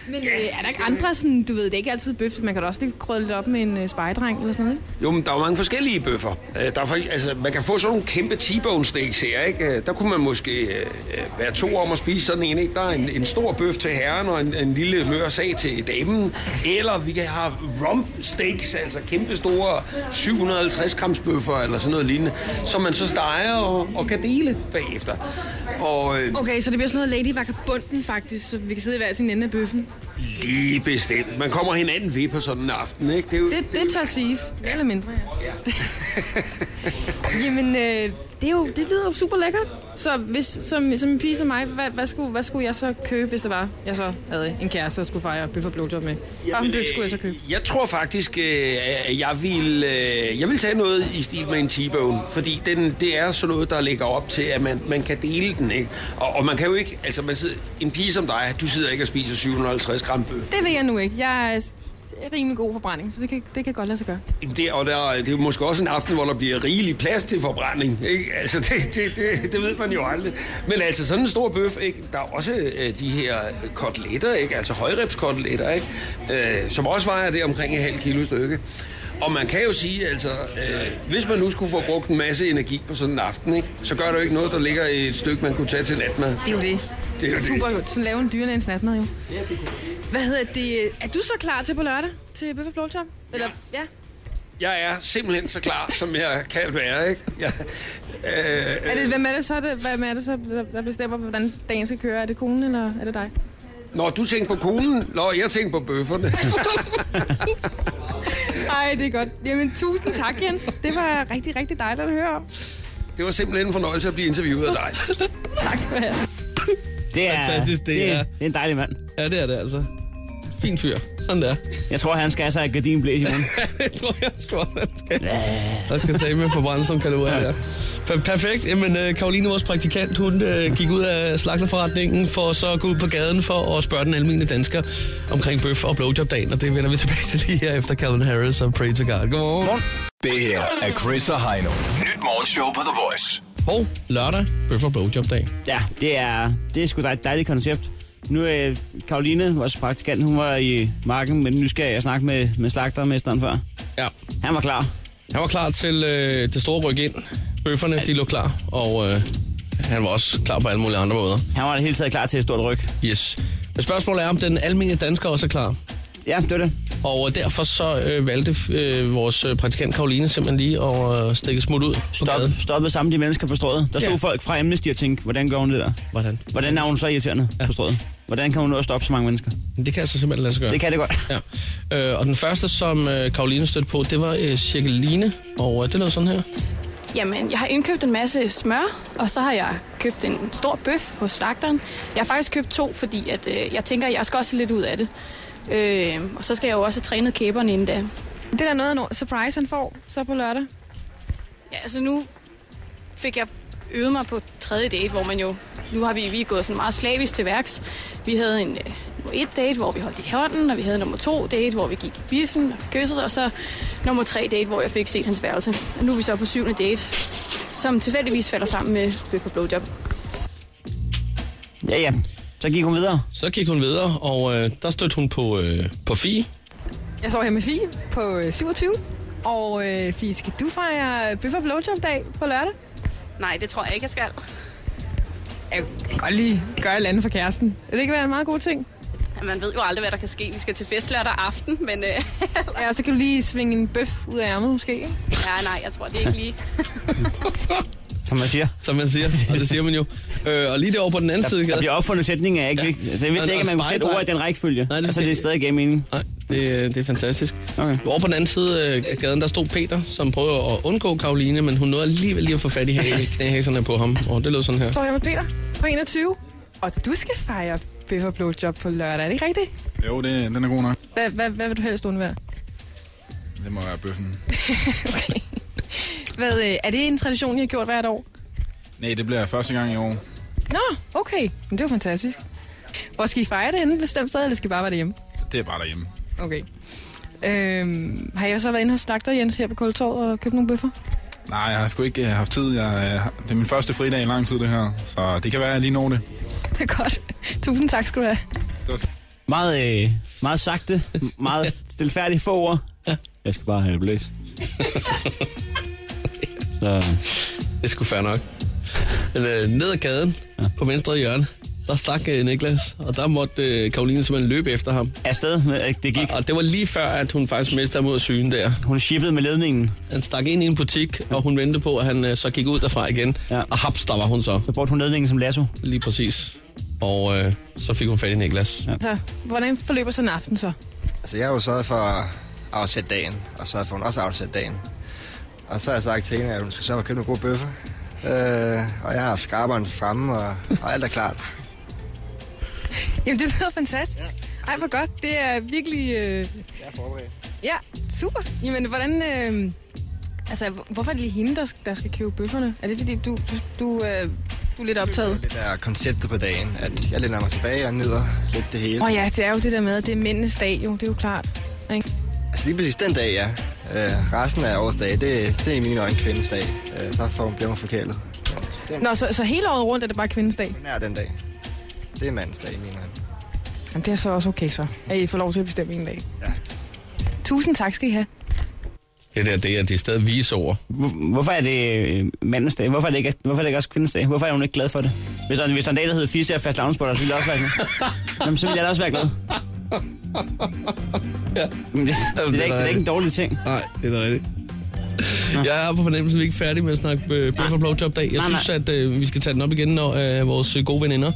[SPEAKER 9] Men øh, er der ikke andre, sådan, du ved, det er ikke altid bøf, man kan da også lige krydre lidt op med en øh, spejdreng eller sådan noget, ikke?
[SPEAKER 10] Jo, men der er jo mange forskellige bøffer. Øh, Der er for, altså, man kan få sådan nogle kæmpe T-bone steaks her, ikke? Øh, Der kunne man måske øh, øh, være to om at spise sådan en, ikke? Der er en, en stor bøf til herren og en, en lille mør sag til damen. Eller vi kan have rump steaks, altså kæmpe store 750 grams bøffer eller sådan noget lignende, som man så steger og, og kan dele bagefter. Og øh,
[SPEAKER 9] Okay, så det bliver sådan noget Lady Vagabunden faktisk, så vi kan sidde i hver sin ende af bøffen.
[SPEAKER 10] lige bestemt. Man kommer hinanden ved på sådan en aften, ikke? Det er jo,
[SPEAKER 9] Det, det tør siges, mere eller mindre, ja. Jamen, øh, det, er jo, det lyder jo super lækkert. Så hvis, som, som en pige som mig, hvad, hvad, skulle, hvad skulle jeg så købe, hvis det var, jeg så havde en kæreste, der skulle fejre bøf og blowjob med? Hvad bøf skulle jeg så købe?
[SPEAKER 10] Jeg tror faktisk, øh, at jeg vil, øh, jeg vil tage noget i stil med en T-bone, fordi den, det er sådan noget, der ligger op til, at man, man kan dele den, ikke? Og, og man kan jo ikke, altså man sidder, en pige som dig, du sidder ikke og spiser 750 gram bøf.
[SPEAKER 9] Det vil jeg nu ikke. Jeg er s- rimelig god forbrænding, så det kan, det kan godt lade sig gøre.
[SPEAKER 10] Jamen, Det, og der, det er jo måske også en aften, hvor der bliver rigelig plads til forbrænding, ikke? Altså det, det, det, det ved man jo aldrig. Men altså sådan en stor bøf, ikke? Der er også øh, de her koteletter, ikke? Altså højribskoteletter, ikke? Øh, som også vejer det omkring et halvt kilo stykke. Og man kan jo sige, altså, øh, hvis man nu skulle få brugt en masse energi på sådan en aften, ikke, så gør det jo ikke noget, der ligger i et stykke, man kunne tage til natmad.
[SPEAKER 9] Det er jo det.
[SPEAKER 10] Det er jo det.
[SPEAKER 9] Super godt. Sådan lave en dyrene en natmad jo. Hvad hedder det? Er du så klar til på lørdag til Bøf og Blowjob? Eller, ja.
[SPEAKER 10] Jeg er simpelthen så klar, som jeg kan være. Ikke? Jeg, øh,
[SPEAKER 9] Er det, hvem er det så, det, hvem er det så der- der bestemmer, hvordan dagen skal køre? Er det konen, eller er det dig?
[SPEAKER 10] når du tænker på konen, når jeg tænker på bøfferne.
[SPEAKER 9] Ej, det er godt. Jamen, tusind tak, Jens. Det var rigtig, rigtig dejligt at høre om.
[SPEAKER 10] Det var simpelthen en fornøjelse at blive interviewet af dig.
[SPEAKER 9] Tak skal du have.
[SPEAKER 4] Det er,
[SPEAKER 3] Fantastisk, det
[SPEAKER 4] det,
[SPEAKER 3] er.
[SPEAKER 4] det er en dejlig mand.
[SPEAKER 3] Ja, det er det altså. Fin fyr. Sådan der.
[SPEAKER 4] Jeg tror, han skal have sig et gardinblæs i munden.
[SPEAKER 3] det tror jeg sgu også, han skal. Der skal tage med forbrændelsen om kalorier. Ja. Per- Perfekt. Jamen, øh, Karoline, vores praktikant, hun øh, gik ud af slagterforretningen for så at gå ud på gaden for at spørge den almindelige dansker omkring bøf- og blowjob-dagen, og det vender vi tilbage til lige her efter Calvin Harris og Pray to God. Godmorgen.
[SPEAKER 5] Det her er Chris og Heino. Nyt morgenshow på The Voice.
[SPEAKER 3] Og lørdag, bøf- og blowjob-dag.
[SPEAKER 4] Ja, det er, det er sgu da et dejligt koncept. Nu er øh, Karoline, vores praktikant, hun var i marken med den nysgerrige jeg snakkede med, med slagtermesteren før.
[SPEAKER 3] Ja.
[SPEAKER 4] Han var klar.
[SPEAKER 3] Han var klar til øh, det store ryk ind. Bøfferne, de lå klar, og øh, han var også klar på alle mulige andre måder.
[SPEAKER 4] Han var i det hele taget klar til et stort ryg.
[SPEAKER 3] Yes. Men spørgsmålet er, om den almindelige dansker også er klar.
[SPEAKER 4] Ja, det var det.
[SPEAKER 3] Og derfor så øh, valgte øh, vores øh, praktikant Karoline simpelthen lige at øh, stikke smut ud.
[SPEAKER 4] Stop, stoppede sammen de mennesker på strået. Der
[SPEAKER 3] Ja.
[SPEAKER 4] stod ja. folk fra Amnesty og tænkte, hvordan gør hun det der?
[SPEAKER 3] Hvordan?
[SPEAKER 4] Hvordan er hun så irriterende
[SPEAKER 3] Ja.
[SPEAKER 4] ja. på strået? Hvordan kan hun nå at stoppe så mange mennesker?
[SPEAKER 3] Det kan altså simpelthen lade sig gøre.
[SPEAKER 4] Det kan det godt.
[SPEAKER 3] Ja. Øh, og den første, som øh, Karoline stødte på, det var øh, Cirkeline, og øh, det lød sådan her.
[SPEAKER 6] Jamen, jeg har indkøbt en masse smør, og så har jeg købt en stor bøf hos slagteren. Jeg har faktisk købt to, fordi at, øh, jeg tænker, at jeg skal også have lidt ud af det. Øh, og så skal jeg jo også have trænet kæberne inden da.
[SPEAKER 9] Det er da noget af en surprise, han får så på lørdag.
[SPEAKER 6] Ja, altså nu fik jeg øvede mig på tredje date, hvor man jo... Nu har vi, vi er gået sådan meget slavisk til værks. Vi havde en øh, nummer et date, hvor vi holdt i hånden, og vi havde nummer to date, hvor vi gik i biffen og kyssede, og så nummer tre date, hvor jeg fik set hans værelse. Og nu er vi så på syvende date, som tilfældigvis falder sammen med Bøf og Blowjob.
[SPEAKER 4] Ja, ja. Så gik hun videre.
[SPEAKER 3] Så gik hun videre, og øh, der stødte hun på, øh, på Fie.
[SPEAKER 9] Jeg står her med Fie på øh, 27. Og øh, Fie, skal du fejre øh, Bøf og Blowjob dag på lørdag?
[SPEAKER 11] Nej, det tror jeg ikke, jeg skal.
[SPEAKER 9] Jeg kan godt lige gøre et eller andet for kæresten. Vil det ikke være en meget god ting?
[SPEAKER 11] Ja, Man ved jo aldrig, hvad der kan ske. Vi skal til fest lørdag aften, men øh,
[SPEAKER 9] Ja, så kan du lige svinge en bøf ud af ærmet måske, ikke?
[SPEAKER 11] ja, nej, jeg tror, det er ikke lige.
[SPEAKER 4] Som man siger.
[SPEAKER 3] Som man siger, og det siger man jo. Øh, og lige derovre på den anden
[SPEAKER 4] Der-
[SPEAKER 3] side...
[SPEAKER 4] der bliver opfundet sætninger, ikke?
[SPEAKER 3] Ja.
[SPEAKER 4] Altså, jeg vidste ikke, at man kunne sætte ord i den rækkefølge.
[SPEAKER 3] Nej,
[SPEAKER 4] Altså, det er stadig gav mening.
[SPEAKER 3] Nej, det, det er fantastisk. Okay. Over på den anden side af gaden, der stod Peter, som prøvede at undgå Karoline, men hun nåede alligevel lige at få fat i hæ- knæhæserne på ham. Og det lød sådan her.
[SPEAKER 9] Jeg står her med Peter på 21. Og du skal fejre Bøf og Blowjob på lørdag, er det ikke rigtigt?
[SPEAKER 12] Jo, det, den er god nok.
[SPEAKER 9] Hvad, hvad, hvad vil du helst undvære?
[SPEAKER 12] Det må være bøffen.
[SPEAKER 9] Hvad, øh, er det en tradition, I har gjort hvert år?
[SPEAKER 12] Nej, det bliver første gang i år.
[SPEAKER 9] Nå, okay. Men det var fantastisk. Hvor skal I fejre det henne? Et Bestemt sted, eller skal I bare være derhjemme?
[SPEAKER 12] Det er bare derhjemme.
[SPEAKER 9] Okay. Øhm, har jeg så været inde hos slagter Jens her på Kultorvet og købt nogle bøffer?
[SPEAKER 12] Nej, jeg har sgu ikke øh, haft tid. Jeg, øh, har- det er min første fridag i lang tid, det her. Så det kan være, at jeg lige når det.
[SPEAKER 9] Det er godt. Tusind tak skal du have.
[SPEAKER 4] Meget, øh, meget sagte, m- meget stilfærdige få ord. Ja. Jeg skal bare øh, have det blæs. Så.
[SPEAKER 3] Det skulle fair nok. Men, øh, ned ad gaden, ja. på venstre hjørne, der stak øh, Niklas, og der måtte øh, Karoline simpelthen løbe efter ham.
[SPEAKER 4] Afsted, Øh, det gik.
[SPEAKER 3] Og, og det var lige før, at hun faktisk mistede ham ud af syne der.
[SPEAKER 4] Hun shippede med ledningen.
[SPEAKER 3] Han stak ind i en butik, og hun ventede på, at han øh, så gik ud derfra igen. Ja. Og haps, der var hun så.
[SPEAKER 4] Så brugte hun ledningen som lasso.
[SPEAKER 3] Lige præcis. Og øh, så fik hun fat i Niklas. Ja.
[SPEAKER 9] Så, Altså, hvordan forløber sådan en aften så?
[SPEAKER 13] Altså, jeg har jo sørget for at afsætte dagen, og så har hun også afsat dagen. Og så har jeg sagt til hende, at hun skal sørge for at købe nogle gode bøffer. Øh, og jeg har haft skraberen fremme, og, og alt er klart.
[SPEAKER 9] Jamen, det lyder fantastisk. Ej, hvor godt. Det er virkelig... Øh...
[SPEAKER 13] Jeg er forberedt.
[SPEAKER 9] Ja, super. Jamen, hvordan... Øh... Altså, hvor- hvorfor er det lige hende, der, sk- der skal købe bøfferne? Er det fordi, du, du, du, øh, du er lidt optaget?
[SPEAKER 13] Det er konceptet på dagen, at jeg læner mig tilbage og nyder lidt det hele.
[SPEAKER 9] Åh oh, ja, det er jo det der med, at det er mændenes dag, jo. Det er jo klart. Ikke?
[SPEAKER 13] Altså lige præcis den dag, ja. Øh, resten af årets dag, det, det er i mine øjne kvindens dag. Øh, så får hun, bliver hun forkælet.
[SPEAKER 9] Nå, så, så hele året rundt er det bare kvindens dag?
[SPEAKER 13] Hun er den dag. Det er mandens dag i mine øjne.
[SPEAKER 9] Jamen, det er så også okay så, at I får lov til at bestemme en dag. Ja. Tusind tak skal I have.
[SPEAKER 3] Det der, det er, det er stadig vise over.
[SPEAKER 4] Hvor, hvorfor er det øh, mandens dag? Hvorfor er det, ikke, hvorfor er det ikke også kvindens dag? Hvorfor er hun ikke glad for det? Hvis der, hvis der er en dag, der hedder Fisse og fast lavnsboller, så ville jeg også være glad. Jamen, så ville jeg da også være glad. Men det, det, er da ikke, det er ikke en dårlig ting.
[SPEAKER 3] Nej, det er da rigtigt. Jeg er på fornemmelsen, at vi ikke er færdige med at snakke øh, Bøf og Blowjob dag. Jeg
[SPEAKER 4] Nej,
[SPEAKER 3] synes, at øh, vi skal tage den op igen, når øh, vores øh, gode veninder,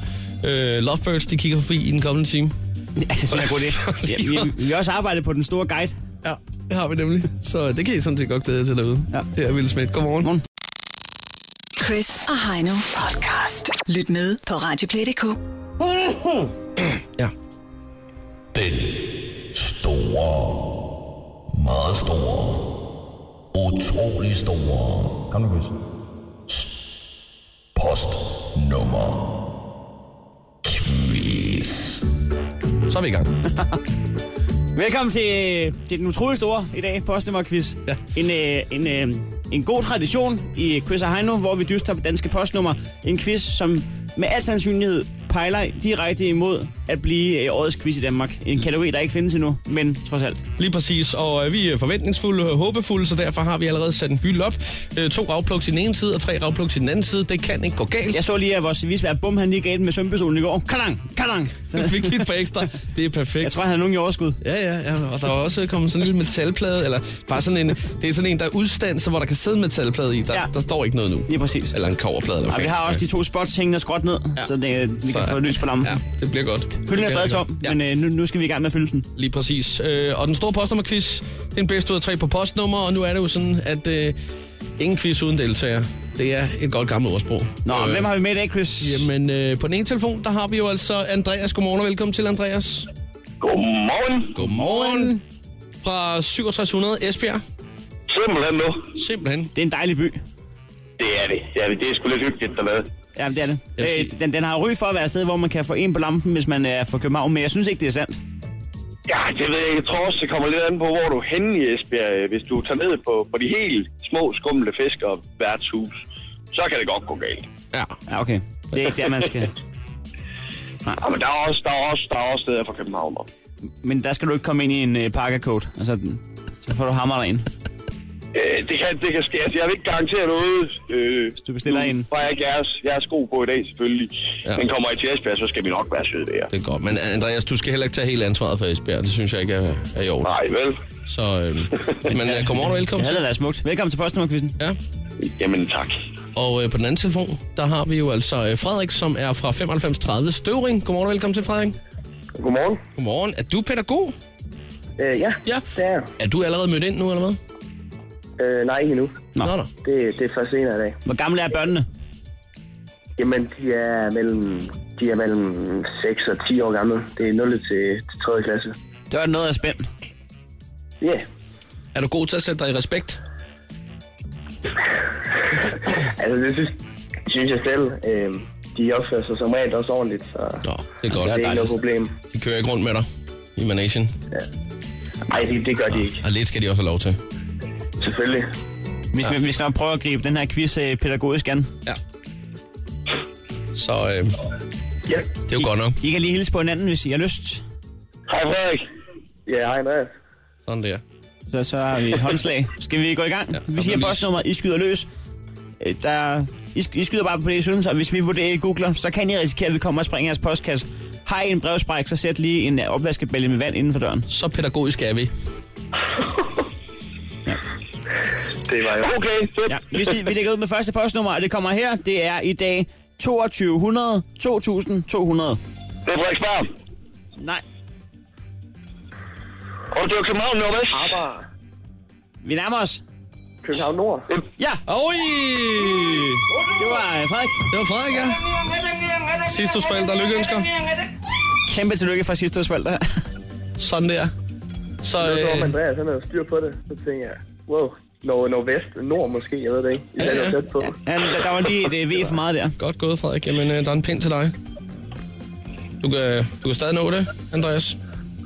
[SPEAKER 3] øh, Lovebirds, de kigger forbi i den kommende time.
[SPEAKER 4] Ja, det synes jeg er god idé. Ja, vi, vi har også arbejdet på den store guide.
[SPEAKER 3] Ja, det har vi nemlig. Så det kan I sådan set godt glæde jer til derude. Ja. Her er Ville Smidt. Godmorgen. Godmorgen.
[SPEAKER 2] Chris og Heino podcast. Lyt med på Radioplay.dk.
[SPEAKER 3] ja.
[SPEAKER 14] Den store, meget store, utrolig store. Kom nu, Chris. Post nummer quiz.
[SPEAKER 3] Så er vi i gang.
[SPEAKER 4] Velkommen til, øh, til den utrolig store i dag, postnummerquiz. Ja. En, øh, en, øh, en god tradition i Quiz og Heino, hvor vi dyster på danske postnummer. En quiz, som med al sandsynlighed pejler direkte imod at blive øh, årets quiz i Danmark. En kategori, der ikke findes endnu, men trods alt.
[SPEAKER 3] Lige præcis, og øh, vi er forventningsfulde og håbefulde, så derfor har vi allerede sat en hylde op. Øh, to ravplugs i den ene side, og tre ravplugs i den anden side. Det kan ikke gå galt.
[SPEAKER 4] Jeg så lige, at vores visvær Bum, han lige gav den med sømpistolen i går. Kalang, kalang.
[SPEAKER 3] Så fik lige et par ekstra. Det er perfekt.
[SPEAKER 4] Jeg tror, han havde nogen i overskud.
[SPEAKER 3] Ja, ja, ja. Og der var også kommet sådan en lille metalplade, eller bare sådan en, det er sådan en, der er udstand, så hvor der kan sidde en metalplade i. Der, ja. der står ikke noget nu.
[SPEAKER 4] Lige præcis.
[SPEAKER 3] Eller en koverplade. Eller hvad
[SPEAKER 4] Og vi
[SPEAKER 3] fanden
[SPEAKER 4] har
[SPEAKER 3] det
[SPEAKER 4] også de
[SPEAKER 3] skal
[SPEAKER 4] to spots hængende skråt ned, ja. så det, øh, vi
[SPEAKER 3] Så,
[SPEAKER 4] kan få lys på lampen.
[SPEAKER 3] Ja, det bliver godt.
[SPEAKER 4] Hylden er
[SPEAKER 3] Det bliver
[SPEAKER 4] stadig
[SPEAKER 3] godt.
[SPEAKER 4] tom, men øh, nu, nu skal vi i gang med at fylde den.
[SPEAKER 3] Lige præcis. Øh, og den store postnummerquiz, det er en bedst ud af tre på postnummer, og nu er det jo sådan, at øh, ingen quiz uden deltager. Det er et godt gammelt ordsprog. Øh,
[SPEAKER 4] Nå, hvem har vi med i dag, Chris?
[SPEAKER 3] Jamen, øh, på den ene telefon, der har vi jo altså Andreas. Godmorgen og velkommen til, Andreas. Godmorgen. Godmorgen. Fra 6700 Esbjerg. Simpelthen nu. Simpelthen.
[SPEAKER 4] Det er en dejlig by.
[SPEAKER 15] Det er det. Ja, det er sgu lidt hyggeligt dernede.
[SPEAKER 4] Ja, det er det.
[SPEAKER 15] Jeg vil
[SPEAKER 4] Øh, den, den har jo ry for at være et sted, hvor man kan få en på lampen, hvis man er fra København, men jeg synes ikke, det er sandt.
[SPEAKER 15] Ja, det ved jeg ikke. Jeg tror også, det kommer lidt an på, hvor du er henne i Esbjerg. Hvis du tager ned på, på de helt små skumle fisk og værtshus, så kan det godt gå galt.
[SPEAKER 3] Ja.
[SPEAKER 4] Ja, okay. Det er ikke der, man skal... Nej.
[SPEAKER 15] Ja, men der er også, der er også, der er også steder fra København. op.
[SPEAKER 4] Men der skal du ikke komme ind i en øh, parkercoat. Altså, så får du hammer ind.
[SPEAKER 15] Øh, det, kan, det kan ske. Altså, jeg vil ikke garantere noget. Øh,
[SPEAKER 4] Hvis du bestiller en.
[SPEAKER 15] Var jeg ikke jeres, jeres sko på i dag, selvfølgelig. Ja. Men kommer I til Esbjerg, så skal vi nok være søde ved jer.
[SPEAKER 3] Det er godt. Men Andreas, du skal heller ikke tage hele ansvaret for Esbjerg. Det synes jeg ikke er, er i orden. Nej,
[SPEAKER 15] vel.
[SPEAKER 3] Så, øh, men øh, kom over og velkommen.
[SPEAKER 4] Det havde da været smukt. Velkommen til postnummerquizzen.
[SPEAKER 3] Ja.
[SPEAKER 15] Jamen, tak.
[SPEAKER 3] Og øh, på den anden telefon, der har vi jo altså øh, Frederik, som er fra 9530 Støvring. Godmorgen og velkommen til, Frederik.
[SPEAKER 15] Godmorgen.
[SPEAKER 3] Godmorgen. Er du pædagog?
[SPEAKER 16] Øh, ja,
[SPEAKER 3] ja,
[SPEAKER 16] det er jeg.
[SPEAKER 3] Er du allerede mødt ind nu, eller hvad?
[SPEAKER 16] Øh, nej, ikke endnu.
[SPEAKER 3] Nå. Nå,
[SPEAKER 16] Det, det er først senere i dag.
[SPEAKER 4] Hvor gamle er børnene?
[SPEAKER 16] Jamen, de er mellem, de er mellem 6 og 10 år gamle. Det er 0 til, til 3. klasse.
[SPEAKER 4] Det var noget af spændt.
[SPEAKER 16] Ja. Yeah.
[SPEAKER 3] Er du god til at sætte dig i respekt?
[SPEAKER 16] altså, det synes, synes jeg selv. Øh, de opfører sig som regel også ordentligt, så Nå,
[SPEAKER 3] det er godt.
[SPEAKER 16] det er ikke noget problem.
[SPEAKER 3] De kører ikke rundt med dig i Manation?
[SPEAKER 16] Nej, det, det gør de ikke.
[SPEAKER 3] Og lidt skal de også have lov til.
[SPEAKER 16] Selvfølgelig.
[SPEAKER 4] Vi skal, ja. vi skal nok prøve at gribe den her quiz øh, pædagogisk an.
[SPEAKER 3] Ja. Så øh,
[SPEAKER 16] ja.
[SPEAKER 3] det er jo godt nok.
[SPEAKER 4] I kan lige hilse på hinanden, hvis I har lyst.
[SPEAKER 15] Hej Frederik.
[SPEAKER 16] Ja, hej Andreas.
[SPEAKER 3] Sådan der.
[SPEAKER 4] Så, så har vi et håndslag. Skal vi gå i gang? Ja, vi siger
[SPEAKER 3] men vi-
[SPEAKER 4] postnummeret, I skyder løs. Øh, Der, I, sk- I skyder bare på det, I synes, og hvis vi vurderer i Google, så kan I risikere, at vi kommer og springer jeres postkasse. Har I en brevspræk, så sæt lige en øh, opvaskebælge med vand inden for døren.
[SPEAKER 3] Så pædagogisk er vi.
[SPEAKER 15] Det var jo okay. Fedt.
[SPEAKER 4] Ja, vi, sli- vi lægger ud med første postnummer, og det kommer her. Det er i dag 2200 2200.
[SPEAKER 15] Det er Frederiksberg.
[SPEAKER 4] Nej.
[SPEAKER 15] Og det var København Nordvest.
[SPEAKER 16] Arbejde.
[SPEAKER 4] Vi nærmer os.
[SPEAKER 16] København Nord.
[SPEAKER 4] Ja.
[SPEAKER 3] Oj!
[SPEAKER 4] Det var øh, Frederik.
[SPEAKER 3] Det var Frederik, ja. Sidst hos forældre. Lykkeønsker.
[SPEAKER 4] Kæmpe tillykke fra sidste hos forældre.
[SPEAKER 3] Sådan der. Så,
[SPEAKER 16] Så
[SPEAKER 3] øh,
[SPEAKER 16] om Andreas han havde styr på det, så tænkte jeg, wow, Nord, Nordvest, Nord måske, jeg ved det ikke. I ja, ja. på.
[SPEAKER 4] Ja, der, der var lige et øh, V for meget der.
[SPEAKER 3] Godt gået, Frederik. Jamen, øh, der er en pind til dig. Du kan, du kan stadig nå det, Andreas.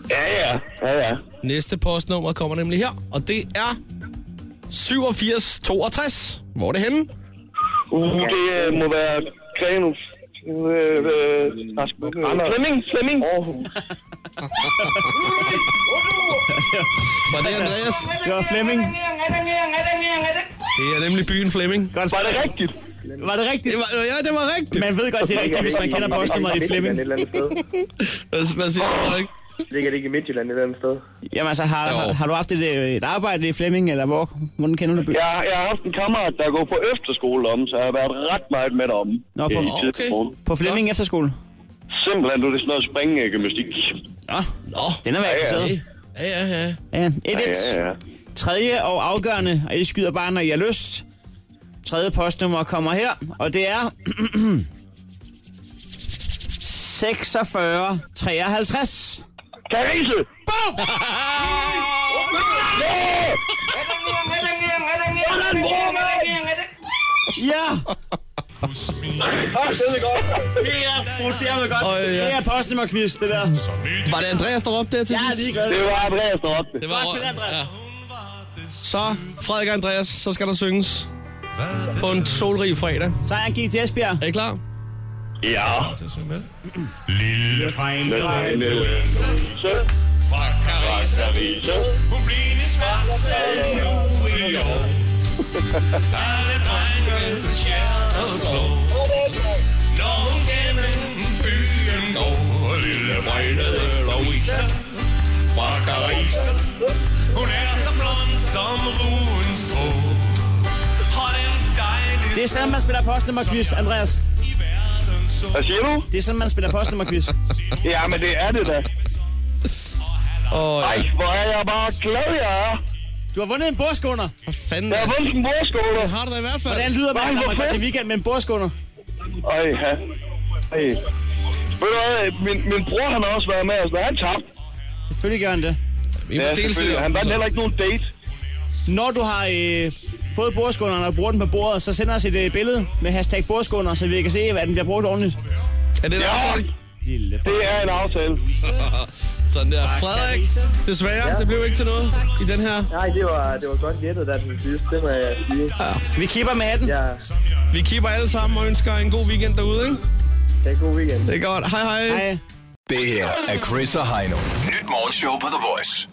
[SPEAKER 15] Ja, ja. ja, ja.
[SPEAKER 3] Næste postnummer kommer nemlig her, og det er 8762. Hvor er det henne?
[SPEAKER 15] Uh, det øh, må være Grenus. Øh, øh, Flemming, Flemming. Aarhus.
[SPEAKER 3] Var det Andreas?
[SPEAKER 4] Det var Flemming.
[SPEAKER 3] Det er nemlig byen Flemming.
[SPEAKER 4] Godt
[SPEAKER 15] Var det rigtigt?
[SPEAKER 4] Var det rigtigt?
[SPEAKER 3] Det var, ja, det var rigtigt.
[SPEAKER 4] Man ved godt, det er rigtigt, hvis man kender postnummeret i Flemming.
[SPEAKER 16] Et eller andet sted.
[SPEAKER 3] Hvad, hvad siger du, Frederik?
[SPEAKER 16] Ligger det ikke i Midtjylland et eller andet sted?
[SPEAKER 4] Jamen altså, har, har, har du haft et, øh, et arbejde i Flemming, eller hvor? Hvordan kender du byen?
[SPEAKER 15] Jeg, jeg har haft en kammerat, der går på efterskole om, så jeg har været ret meget med derom.
[SPEAKER 4] Nå, på,
[SPEAKER 15] Øh, i
[SPEAKER 4] okay.
[SPEAKER 15] tidspunkt.
[SPEAKER 4] på Flemming Efterskole.
[SPEAKER 15] Simpelthen, du er det sådan noget springgymnastik.
[SPEAKER 4] Nå,
[SPEAKER 3] Nå.
[SPEAKER 4] den er været interesseret.
[SPEAKER 3] Ja, ja, ja.
[SPEAKER 4] Ja,
[SPEAKER 15] Ja, ja, ja.
[SPEAKER 4] 1-1. Tredje og afgørende, og I skyder bare, når I har lyst. Tredje postnummer kommer her, og det er... 46 53.
[SPEAKER 15] Karise!
[SPEAKER 4] Ja!
[SPEAKER 15] det er godt.
[SPEAKER 4] Det er, det er vel godt.
[SPEAKER 3] Øj, ja.
[SPEAKER 4] Det er postnummerquiz, det der.
[SPEAKER 3] Var det Andreas, der råbte det til
[SPEAKER 4] Jeg er
[SPEAKER 3] sidst?
[SPEAKER 4] ligeglad.
[SPEAKER 15] Det var Andreas, der råbte.
[SPEAKER 3] Det
[SPEAKER 4] Godt spillet, Andreas.
[SPEAKER 3] Så, Frederik og Andreas, så skal der synges på en solrig fredag.
[SPEAKER 4] Så er han gik til Esbjerg.
[SPEAKER 3] Er I klar?
[SPEAKER 15] Ja.
[SPEAKER 14] Lille Frank.
[SPEAKER 15] Fra Karise.
[SPEAKER 14] Hun blev en svart sag nu i år. Alle drengens hjerter slår. Når hun gennem byen går, lille Frede Louise fra Carise. Hun er så blond som ruens strå. Har den dejlige
[SPEAKER 4] Det er sådan, man spiller postnummerquiz, Andreas.
[SPEAKER 15] Hvad siger du?
[SPEAKER 4] Det er sådan, man spiller postnummerquiz.
[SPEAKER 15] Ja, men det er det da.
[SPEAKER 3] Åh,
[SPEAKER 15] Ej, hvor er jeg bare glad, jeg er.
[SPEAKER 4] Du har vundet en bordskunder.
[SPEAKER 3] Hvad fanden?
[SPEAKER 15] Jeg har vundet en bordskole.
[SPEAKER 3] Det har du da i hvert fald.
[SPEAKER 4] Hvordan lyder
[SPEAKER 15] Nej,
[SPEAKER 4] man, når
[SPEAKER 15] hvor
[SPEAKER 4] man går til
[SPEAKER 15] fedt.
[SPEAKER 4] weekend med en bordskunder?
[SPEAKER 15] Ej, ja. Ej. Ved du hvad, min, min bror han har også været med os, men han tabte.
[SPEAKER 4] Selvfølgelig gør han det.
[SPEAKER 3] Vi må
[SPEAKER 15] Ja,
[SPEAKER 3] dele
[SPEAKER 15] selvfølgelig. Han vandt heller ikke nogen date.
[SPEAKER 4] Når du har øh, fået bordskåleren og bruger den på bordet, så send os et øh, billede med hashtag bordskåler, så vi kan se, hvad den bliver brugt ordentligt.
[SPEAKER 3] Er det en aftale?
[SPEAKER 4] Lille
[SPEAKER 3] Det er en aftale. Sådan der. Frederik, desværre, ja. det blev ikke til noget i den her.
[SPEAKER 16] Nej, det var, det var godt gættet, der den sidste. Det må jeg sige.
[SPEAKER 3] Ja.
[SPEAKER 4] Vi kipper med den.
[SPEAKER 16] Ja,
[SPEAKER 3] Vi kipper alle sammen og ønsker en god weekend derude, ikke?
[SPEAKER 16] det er god weekend.
[SPEAKER 3] Det er godt. Hej hej.
[SPEAKER 4] hej.
[SPEAKER 5] Det her er Chris og Heino. Nyt morgenshow på The Voice.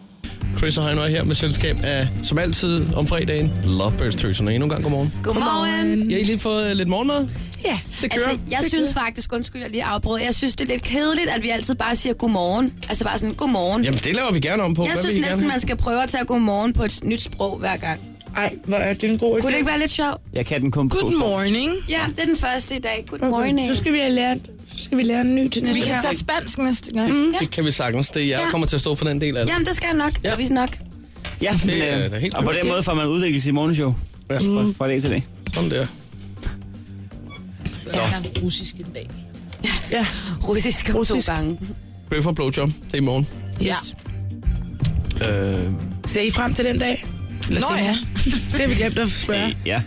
[SPEAKER 3] Chris og Heino er her med selskab af, som altid om fredagen, Lovebirds-tøserne. Endnu en gang godmorgen.
[SPEAKER 17] Godmorgen.
[SPEAKER 3] Jeg har I lige fået øh, lidt morgenmad.
[SPEAKER 17] Ja,
[SPEAKER 3] Det kører.
[SPEAKER 17] altså, jeg
[SPEAKER 3] Det
[SPEAKER 17] synes
[SPEAKER 3] kører.
[SPEAKER 17] faktisk, undskyld, jeg lige afbrød, jeg synes, det er lidt kedeligt, at vi altid bare siger godmorgen. Altså bare sådan, godmorgen.
[SPEAKER 3] Jamen, det laver vi gerne om på.
[SPEAKER 17] jeg
[SPEAKER 3] Hvad
[SPEAKER 17] synes
[SPEAKER 3] vil I
[SPEAKER 17] næsten,
[SPEAKER 3] gerne?
[SPEAKER 17] man skal prøve at tage godmorgen på et nyt sprog hver gang.
[SPEAKER 18] Ej, hvor er det en god
[SPEAKER 17] Kunne det ikke være lidt sjovt?
[SPEAKER 4] Jeg kan den kun på to sprog.
[SPEAKER 17] Ja, det er den første i dag. Good
[SPEAKER 18] Okay,
[SPEAKER 17] morning.
[SPEAKER 18] så skal vi have lært, så skal vi lære en ny til næste
[SPEAKER 17] Vi kan
[SPEAKER 18] gang.
[SPEAKER 17] tage
[SPEAKER 18] spansk næste gang.
[SPEAKER 17] Mm.
[SPEAKER 3] Det kan vi sagtens. Det er jeg, der
[SPEAKER 17] Ja.
[SPEAKER 3] kommer til at stå for den del af det.
[SPEAKER 18] altså.
[SPEAKER 17] Jamen, det skal jeg nok. Ja. Vi nok.
[SPEAKER 4] Ja, men,
[SPEAKER 3] Det er da
[SPEAKER 4] øh,
[SPEAKER 3] helt
[SPEAKER 4] og på den
[SPEAKER 3] perfekt.
[SPEAKER 4] måde får man udviklet sit morgenshow. Ja. Fra, fra dag til dag.
[SPEAKER 3] Sådan der.
[SPEAKER 18] Jeg snakker russisk i dag.
[SPEAKER 17] Ja. Russisk, Russisk. to gange.
[SPEAKER 3] Bøf og blowjob. Det er i morgen.
[SPEAKER 18] Ja.
[SPEAKER 3] Øh,
[SPEAKER 18] Ser I frem til den dag?
[SPEAKER 17] Nå
[SPEAKER 18] til-
[SPEAKER 17] ja.
[SPEAKER 18] det har vi glemt at spørge.
[SPEAKER 4] ja.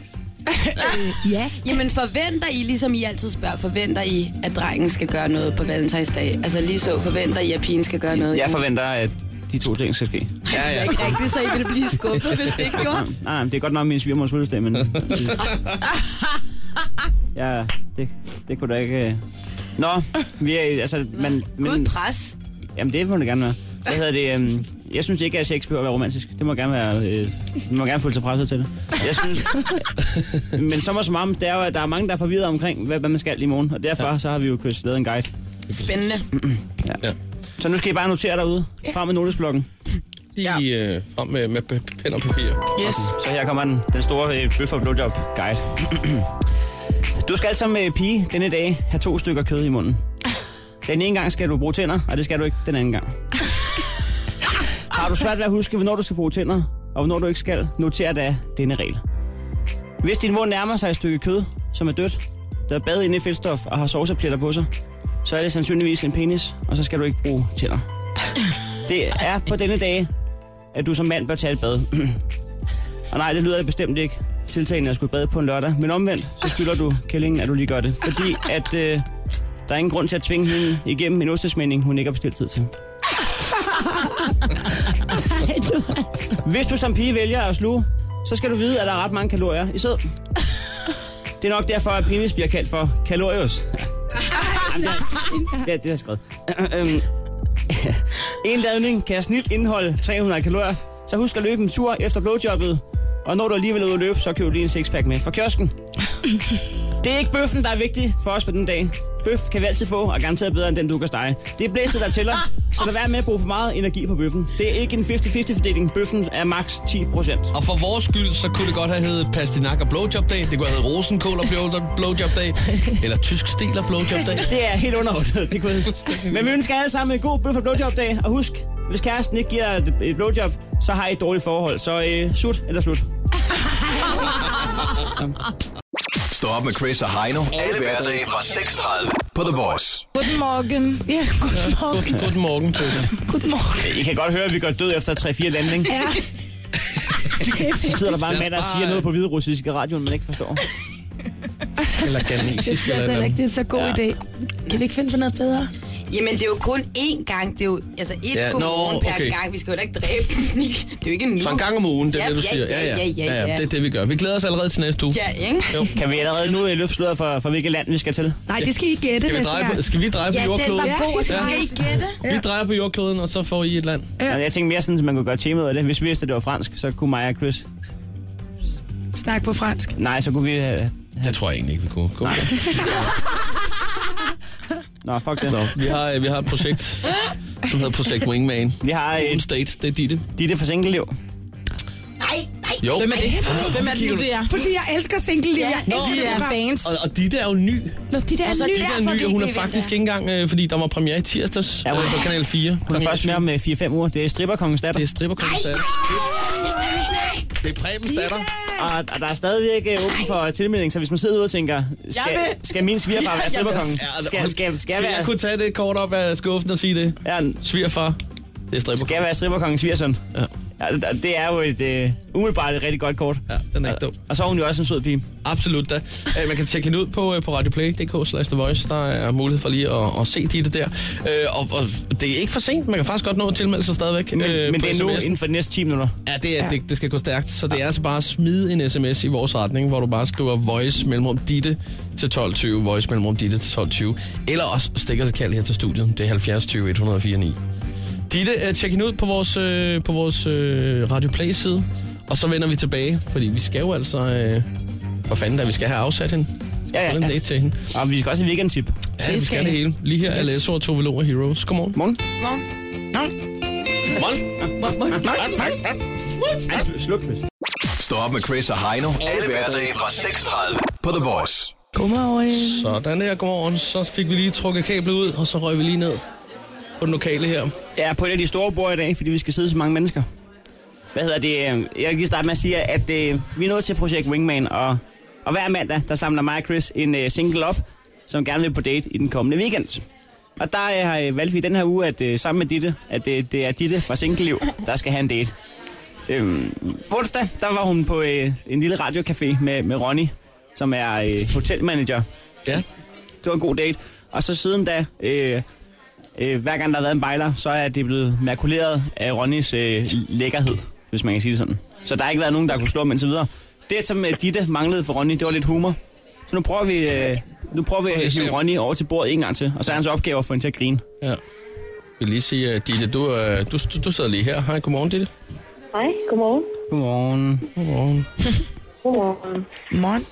[SPEAKER 17] Øh, ja. Jamen forventer I, ligesom I altid spørger, forventer I, at drengen skal gøre noget på valentinsdag? Altså lige så forventer I, at pigen skal gøre noget?
[SPEAKER 4] Jeg forventer, at de to ting skal ske.
[SPEAKER 17] Ja, ja. ikke rigtigt, så I ville blive skuffet, hvis det ikke gjorde.
[SPEAKER 4] Nej, Ah, men det er godt nok min svigermors fødselsdag, men... ja, det, det kunne da ikke... øh. Nå, vi er... Altså, man, men,
[SPEAKER 17] pres.
[SPEAKER 4] Jamen, det må det gerne være. Hvad hedder det? øhm, jeg synes ikke, at sex behøver at være romantisk. Det må gerne være... Øh, man må gerne føle sig presset til det. Jeg synes, men som og som om, det er jo, at der er mange, der er forvirret omkring, hvad, hvad man skal i morgen. Og derfor så har vi jo kørt- lavet en guide.
[SPEAKER 17] Spændende.
[SPEAKER 3] Ja.
[SPEAKER 4] Så nu skal I bare notere derude. Frem med notesblokken.
[SPEAKER 3] Ja. Øh, frem med, med p- pen og papir.
[SPEAKER 4] Yes. Så her kommer den, den store øh, bøf og blowjob guide. du skal som øh, pige denne dag have to stykker kød i munden. Den ene gang skal du bruge tænder, og det skal du ikke den anden gang. Har du svært ved at huske, hvornår du skal bruge tænder, og hvornår du ikke skal, noter da denne regel. Hvis din mund nærmer sig et stykke kød, som er dødt, der er badet inde i fedtstof og har sovsepletter på sig, så er det sandsynligvis en penis, og så skal du ikke bruge tænder. Det er på denne dag, at du som mand bør tage et bad. Og nej, det lyder det bestemt ikke tiltagende at skulle bade på en lørdag. Men omvendt, så skylder du kællingen, at du lige gør det. Fordi at øh, der er ingen grund til at tvinge hende igennem en ostesmænding, hun ikke har bestilt tid til. Hvis du som pige vælger at sluge, så skal du vide, at der er ret mange kalorier i sæd. Det er nok derfor, at penis bliver kaldt for kalorius. Jamen, Det er det, er jeg skrevet. Øhm, en ladning kan snilt indeholde 300 kalorier, så husk at løbe en tur efter blowjobbet. Og når du alligevel er ude at løbe, så køb lige en sixpack med fra kiosken. Det er ikke bøffen, der er vigtig for os på den dag. Bøf kan vi altid få, og garanteret bedre end den, du kan stege. Det er blæstet, der tæller, så lad være med at bruge for meget energi på bøffen. Det er ikke en 50-50-fordeling. Bøffen er maks 10 procent.
[SPEAKER 3] Og for vores skyld, så kunne det godt have heddet Pastinak og Blowjob Day. Det kunne have heddet Rosenkål og Blow- Blowjob Day. Eller Tysk Stil og Blowjob Day.
[SPEAKER 4] Det er helt underordnet, det kunne Men vi ønsker alle sammen en god bøf og blowjob-dag. Og husk, hvis kæresten ikke giver et, et blowjob, så har I et dårligt forhold. Så øh, sut eller slut.
[SPEAKER 5] Stå op med Chris og Heino. Alle hverdage fra 6.30 på The Voice.
[SPEAKER 18] Godmorgen. Ja, godmorgen.
[SPEAKER 3] Godmorgen, Tøsse.
[SPEAKER 4] I kan godt høre, at vi går død efter 3-4 landning.
[SPEAKER 18] Ja.
[SPEAKER 4] Så sidder der bare en mand, der siger
[SPEAKER 3] øh.
[SPEAKER 4] noget på hvide russiske radioen, man ikke forstår.
[SPEAKER 3] Eller
[SPEAKER 18] Det
[SPEAKER 3] ganesisk
[SPEAKER 18] synes jeg altså ikke, det er så god ja. idé. Kan vi ikke finde på noget bedre?
[SPEAKER 17] Jamen, det er jo kun én gang. Det er jo altså et
[SPEAKER 3] Ja,
[SPEAKER 17] ja, godmorgen
[SPEAKER 3] nå,
[SPEAKER 17] no,
[SPEAKER 3] okay.
[SPEAKER 17] per gang. Vi skal jo da ikke dræbe den. ikke? Det er jo ikke nu.
[SPEAKER 3] Så en gang om ugen, det er
[SPEAKER 17] ja,
[SPEAKER 3] det, du
[SPEAKER 17] ja,
[SPEAKER 3] siger.
[SPEAKER 17] Ja, ja, ja. ja, ja.
[SPEAKER 3] Det er det, vi gør. Vi glæder os allerede til næste uge.
[SPEAKER 17] Ja, ikke?
[SPEAKER 3] Jo.
[SPEAKER 4] Kan vi allerede nu øh, løfte sløret for, for hvilket land vi skal til?
[SPEAKER 18] Nej, det skal I gætte
[SPEAKER 3] Skal vi
[SPEAKER 18] næste
[SPEAKER 3] dreje
[SPEAKER 18] gang.
[SPEAKER 3] på, skal vi dreje på jordkloden?
[SPEAKER 17] gætte.
[SPEAKER 3] Vi drejer på jordkloden, og så får I et land.
[SPEAKER 4] Ja. Jeg tænkte mere sådan, at man kunne gøre temaet af det. Hvis vi vidste, at det var fransk, så kunne mig og Chris...
[SPEAKER 18] Snak på fransk.
[SPEAKER 4] Nej, så kunne vi... Øh...
[SPEAKER 3] Det tror jeg egentlig ikke, vi kunne. Kom.
[SPEAKER 4] Nå, fuck det.
[SPEAKER 3] Nå, vi har, øh, vi har et projekt, som hedder Projekt Wingman.
[SPEAKER 4] Vi har øh,
[SPEAKER 3] et... State, det er Ditte.
[SPEAKER 4] Ditte fra Singleliv.
[SPEAKER 17] Nej, nej.
[SPEAKER 3] Jo. Hvem er det?
[SPEAKER 18] Hvem er
[SPEAKER 3] Hvorfor
[SPEAKER 18] det nu,
[SPEAKER 3] kigger du-
[SPEAKER 18] det er? Fordi jeg elsker single liv. Jeg
[SPEAKER 3] Nå,
[SPEAKER 18] elsker
[SPEAKER 3] vi er
[SPEAKER 18] det bare.
[SPEAKER 3] Og, og Ditte er jo ny.
[SPEAKER 18] Nå, de der er
[SPEAKER 3] Altså,
[SPEAKER 18] nye.
[SPEAKER 3] Ditte er ny, og hun er faktisk ikke engang, øh, fordi der var premiere i tirsdags ja, øh, på Kanal 4.
[SPEAKER 4] Hun er først med om øh, 4-5 uger. Det er stripperkongens datter. Det
[SPEAKER 3] er stripperkongens datter. Det er Prebens datter.
[SPEAKER 4] Og, og der er stadigvæk øh, åben for tilmelding, så hvis man sidder ude og tænker, skal,
[SPEAKER 3] Jeg vil-
[SPEAKER 4] skal min svigerfar være stripperkongen? Skal, skal, skal,
[SPEAKER 3] altså, skal
[SPEAKER 4] være,
[SPEAKER 3] jeg kunne tage det kort op af skuffen og sige det?
[SPEAKER 4] Ja.
[SPEAKER 3] Svigerfar, det er stripperkongen.
[SPEAKER 4] skal være stripperkongens svigersøn?
[SPEAKER 3] Ja.
[SPEAKER 4] Altså, det er jo et øh, umiddelbart et rigtig godt kort. Ja,
[SPEAKER 3] den er ikke dum.
[SPEAKER 4] Og så er hun jo også en sød pige.
[SPEAKER 3] Absolut da. Øh, Man kan tjekke hende ud på, øh, på radioplay.dk slash The Voice. Der er mulighed for lige at, at se dit der. Øh, Og, og, det er ikke for sent. Man kan faktisk godt nå at tilmelde sig stadigvæk.
[SPEAKER 4] Men, øh, men
[SPEAKER 3] på
[SPEAKER 4] det er nu
[SPEAKER 3] sms'en.
[SPEAKER 4] inden for de næste 10 minutter.
[SPEAKER 3] Ja, det, er, det, det skal gå stærkt. Så det er altså bare at smide en sms i vores retning, hvor du bare skriver voice mellemrum ditte til 12.20, voice mellemrum ditte til 12.20. Eller også stikker til kald her til studiet. Det er 70 20 104 9. Ditte, øh, tjek hende ud på vores, øh, på vores øh, Radio Play side. Og så vender vi tilbage, fordi vi skal jo altså... Øh, hvor fanden der, vi skal have afsat hende. Ja, ja, ja. date til hende.
[SPEAKER 4] Og vi skal også have weekendtip.
[SPEAKER 3] Ja, vi skal det hele. Lige her er Lasso og Tove Lo og Heroes. Godmorgen.
[SPEAKER 4] Morgen.
[SPEAKER 17] Morgen.
[SPEAKER 4] Sluk, Chris.
[SPEAKER 5] Stå op med Chris og Heino. Alle hverdage fra 6.30 på The Voice.
[SPEAKER 3] Godmorgen. Sådan der, godmorgen. Så fik vi lige trukket kablet ud, og så røg vi lige ned på den lokale her.
[SPEAKER 4] Ja, på et af de store bord i dag, fordi vi skal sidde så mange mennesker. Hvad hedder det? øh, Jeg kan lige starte med at sige, at øh, vi er nået til projekt Wingman, og, og hver mandag, der samler mig og Chris en øh, single op, som gerne vil på date i den kommende weekend. Og der øh, har øh, valgt vi den her uge, at øh, sammen med Ditte, at øh, det er Ditte fra Singleliv, der skal have en date. Øhm, onsdag, der var hun på øh, en lille radiocafé med, med Ronny, som er øh, hotelmanager.
[SPEAKER 3] Ja.
[SPEAKER 4] Det var en god date. Og så siden da, øh, øh, hver gang der har været en bejler, så er det blevet makuleret af Ronnys øh, lækkerhed, hvis man kan sige det sådan. Så der har ikke været nogen, der kunne slå ham indtil videre. Det, som øh, Ditte manglede for Ronny, det var lidt humor. Så nu prøver vi, øh, nu prøver vi at hive Ronny over til bordet en gang til, og så er hans opgave at få hende til at grine.
[SPEAKER 3] Ja. Jeg vil lige sige, at Ditte, du, øh, du, du, du sidder lige her. Hej, godmorgen, Ditte.
[SPEAKER 19] Hej, godmorgen.
[SPEAKER 4] Godmorgen. Godmorgen.
[SPEAKER 19] Godmorgen.
[SPEAKER 18] Morgen.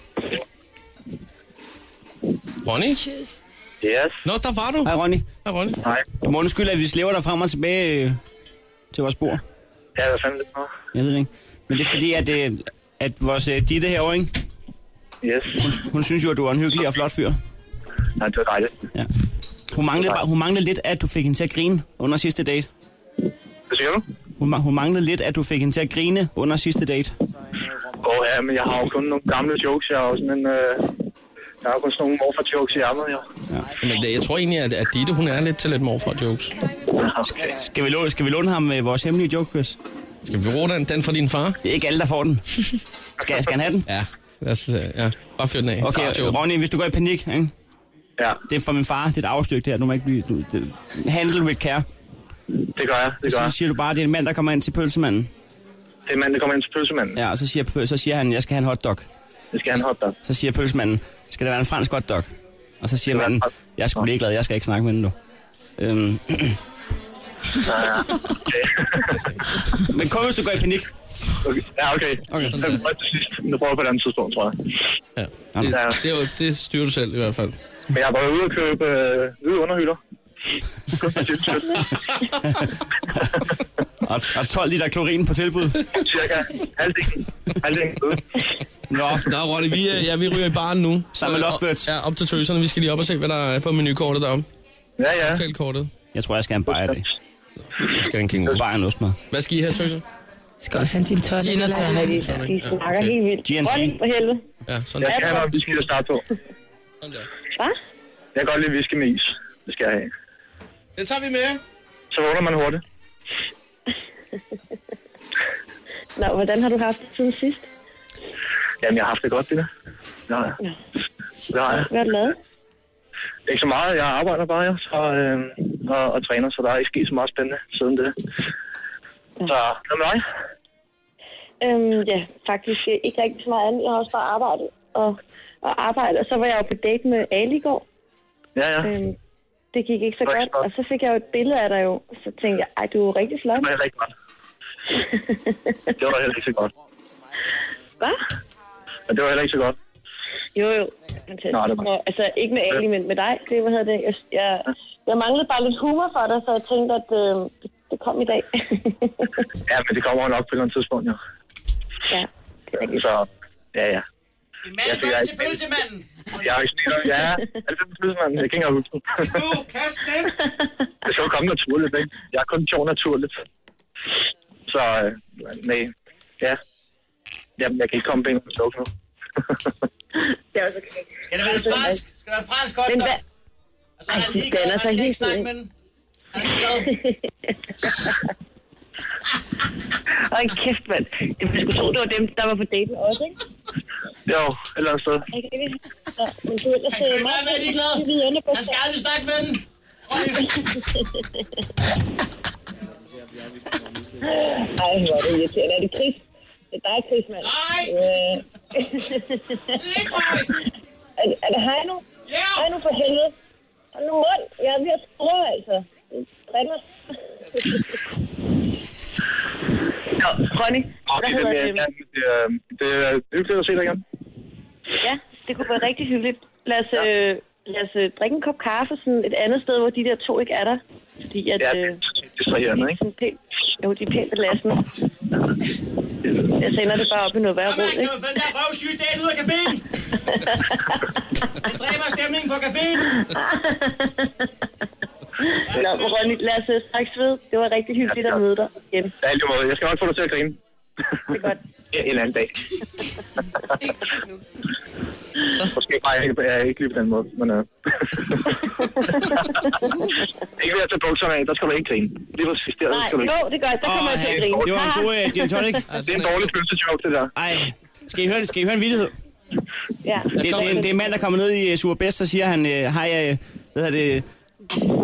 [SPEAKER 3] Ronny?
[SPEAKER 19] Yes.
[SPEAKER 3] Nå, der var du.
[SPEAKER 4] Hej, Ronny.
[SPEAKER 3] Hej, Ronny.
[SPEAKER 4] Hej. Du må undskylde, at vi slæver dig frem og tilbage øh, til vores bord.
[SPEAKER 16] Ja, hvad fanden er det for?
[SPEAKER 4] Jeg ved det ikke. Men det er fordi, at, øh, at vores øh, Ditte herovre, ikke?
[SPEAKER 16] Yes.
[SPEAKER 4] Hun, hun synes jo, at du er en hyggelig og flot fyr.
[SPEAKER 16] Nej, det var dejligt.
[SPEAKER 4] Ja. Hun manglede, bare- hun manglede lidt, at du fik hende til at grine under sidste date.
[SPEAKER 16] Hvad siger du?
[SPEAKER 4] Hun, ma- hun manglede lidt, at du fik hende til at grine under sidste date.
[SPEAKER 16] Åh ja, men jeg har jo kun nogle gamle jokes, jeg har jo sådan en... Øh, jeg har jo kun sådan nogle morfar jokes i ærmet, ja.
[SPEAKER 3] Men det, jeg tror egentlig, at, at Ditte, hun er lidt til lidt morfar-jokes.
[SPEAKER 4] Skal, skal, vi låne, skal vi låne ham med vores hemmelige joke, Chris?
[SPEAKER 3] Skal vi bruge den, den fra din far?
[SPEAKER 4] Det er ikke alle, der får den. Skal, skal han have den?
[SPEAKER 3] Ja. Lad os, øh, ja. Bare fyr den af.
[SPEAKER 4] Okay,
[SPEAKER 3] Far-joke.
[SPEAKER 4] Ronny, hvis du går i panik, ikke?
[SPEAKER 16] Ja.
[SPEAKER 4] Det er fra min far, det er et afstykke der. Du må ikke blive... Du, det, handle with care.
[SPEAKER 16] Det gør jeg, det gør
[SPEAKER 4] Så
[SPEAKER 16] jeg.
[SPEAKER 4] siger du bare, at det er en mand, der kommer ind til pølsemanden.
[SPEAKER 16] Det er manden, der kommer ind til pølsemanden.
[SPEAKER 4] Ja, og så siger, pøl- så siger han, jeg skal have en hotdog.
[SPEAKER 16] Jeg skal have en hotdog.
[SPEAKER 4] Så siger pølsemanden, skal det være en fransk hotdog? Og så siger manden, jeg er sgu ligeglad, jeg skal ikke snakke med den nu. Øhm. Men kom, hvis du går i panik.
[SPEAKER 16] Okay. Ja, okay.
[SPEAKER 4] okay.
[SPEAKER 16] Så prøver jeg til sidst. Nu prøver jeg på et andet tidspunkt, tror jeg.
[SPEAKER 3] Ja. Det, det, er jo- det styrer du selv i hvert fald.
[SPEAKER 16] Men jeg var ude og købe øh, hvide underhylder.
[SPEAKER 4] Og, og 12 liter klorin på tilbud.
[SPEAKER 16] Cirka halvdelen. Halvdelen ude.
[SPEAKER 4] Nå,
[SPEAKER 3] Nå Ronny, vi, øh, ja, vi ryger i baren nu.
[SPEAKER 4] Sammen med Lovebirds.
[SPEAKER 3] Ja, op til tøserne. Vi skal lige op og se, hvad der er på menukortet deroppe.
[SPEAKER 16] Ja, ja.
[SPEAKER 3] Cocktailkortet.
[SPEAKER 4] Jeg tror, jeg skal have en bajer i dag.
[SPEAKER 3] Jeg skal have en king
[SPEAKER 4] Bare en ostmad.
[SPEAKER 3] Hvad skal I have, tøser?
[SPEAKER 18] Skal også have en gin tonic.
[SPEAKER 19] Gin og tonic.
[SPEAKER 18] De
[SPEAKER 19] snakker helt vildt.
[SPEAKER 4] G&T.
[SPEAKER 19] Ronny, for helvede.
[SPEAKER 3] Ja,
[SPEAKER 16] Jeg skal have noget whisky at starte på.
[SPEAKER 19] Hvad?
[SPEAKER 16] Jeg kan godt lide whisky med is. Det skal jeg have.
[SPEAKER 3] Det tager vi med.
[SPEAKER 16] Så vågner man hurtigt.
[SPEAKER 19] Nå, hvordan har du haft det siden sidst?
[SPEAKER 16] Jamen, jeg har haft det godt, det der. Nej. Nej.
[SPEAKER 19] Hvad har du lavet?
[SPEAKER 16] Ikke så meget. Jeg arbejder bare, ja. Så, øh, og, og, træner, så der er ikke sket så meget spændende siden det. Så, hvad med dig?
[SPEAKER 19] Øhm, ja, faktisk øh, ikke rigtig så meget andet. Jeg har også bare arbejdet og, og arbejdet. Og så var jeg jo på date med Ali i går.
[SPEAKER 16] Ja, ja.
[SPEAKER 19] Øhm, det gik ikke så godt. Og så fik jeg jo et billede af dig jo. Så tænkte jeg, ej, du er jo rigtig flot.
[SPEAKER 16] Det var heller ikke godt. Det var heller ikke så godt.
[SPEAKER 19] Hvad?
[SPEAKER 16] Men det var heller ikke så godt.
[SPEAKER 19] Jo, jo. Fantastisk.
[SPEAKER 16] Nå,
[SPEAKER 19] Nå,
[SPEAKER 16] det var-
[SPEAKER 19] Altså, ikke med Ali, men med dig. Det, hvad hedder det? Jeg, jeg, jeg manglede bare lidt humor for dig, så jeg tænkte, at øh, det kom i dag.
[SPEAKER 16] Ja, men det kommer jo nok på et eller andet tidspunkt, jo.
[SPEAKER 19] ja.
[SPEAKER 16] Så, ja, ja. Jeg siger, jeg,
[SPEAKER 4] pølsemanden.
[SPEAKER 16] jeg er ikke snitter. Ja, jeg er lidt pølsemanden. Jeg kan ikke engang huske den.
[SPEAKER 4] Nu,
[SPEAKER 14] Uh.
[SPEAKER 4] kast den.
[SPEAKER 16] Det skal jo komme naturligt, ikke? Jeg er kun sjov naturligt. Så, øh, nej. Ja. Jamen, jeg kan ikke komme på en eller anden joke nu.
[SPEAKER 19] Det er også okay. Altså,
[SPEAKER 4] Skal det være fransk? Skal det være fransk
[SPEAKER 19] Men hvad?
[SPEAKER 4] Og så
[SPEAKER 19] er han ligeglad, han skal ikke snakke med
[SPEAKER 4] den.
[SPEAKER 19] Og en kæft, mand. Det var sgu tro, det var dem, der var på daten også, ikke?
[SPEAKER 16] Jo, eller så.
[SPEAKER 19] Jeg kan ikke. Ja, men du er ellers... øh,
[SPEAKER 14] Han kunne ikke være mere ligeglad. Han skal aldrig snakke med den.
[SPEAKER 19] Ej, hvor er det irriterende. Er det Chris? Det er dig, Chris, mand. Nej! Øh. er, det- er det Heino? Ja! Yeah. Heino for helvede. Hold nu mund. Jeg er ved at sprøge, altså. Drænder. Nå, Ronny.
[SPEAKER 16] Okay, det,
[SPEAKER 19] hedder
[SPEAKER 16] det,
[SPEAKER 19] det?
[SPEAKER 16] det, øh, det er hyggeligt at se dig igen.
[SPEAKER 19] Ja, det kunne være rigtig hyggeligt. Lad os, ja. øh, lad os øh, drikke en kop kaffe sådan et andet sted, hvor de der to ikke er der. Fordi at... Ja, øh,
[SPEAKER 16] Det er så hernede, ikke?
[SPEAKER 19] sådan pænt, jo, de er pænt belastende. Jeg sender det bare op i noget værre rod, ikke?
[SPEAKER 14] Den der røvsyge dal ud af caféen. Den dræber stemningen på caféen.
[SPEAKER 19] Nå, men Ronny, lad os øh, snakkes ved. Det var rigtig hyggeligt at møde dig igen.
[SPEAKER 16] Ja, i lige måde. Jeg skal nok få dig til at grine.
[SPEAKER 19] Det er godt.
[SPEAKER 16] en eller anden dag. Måske bare jeg, ikke- jeg er ikke lige på den måde, men... Øh. ikke ved at tage bukserne af, der skal du ikke grine. Lige præcis der, der
[SPEAKER 19] Nej,
[SPEAKER 16] skal du ikke.
[SPEAKER 19] jo, det gør jeg. Der kommer jeg til at grine.
[SPEAKER 4] Det var en god uh, gin tonic.
[SPEAKER 16] Det er en dårlig spøgelsejoke, det der.
[SPEAKER 4] Ej, skal I høre, skal I høre en vildhed?
[SPEAKER 19] Ja.
[SPEAKER 4] Det, det, det, er en mand, der kommer ned i Surbest, så siger han, øh, hej, øh, hvad hedder det,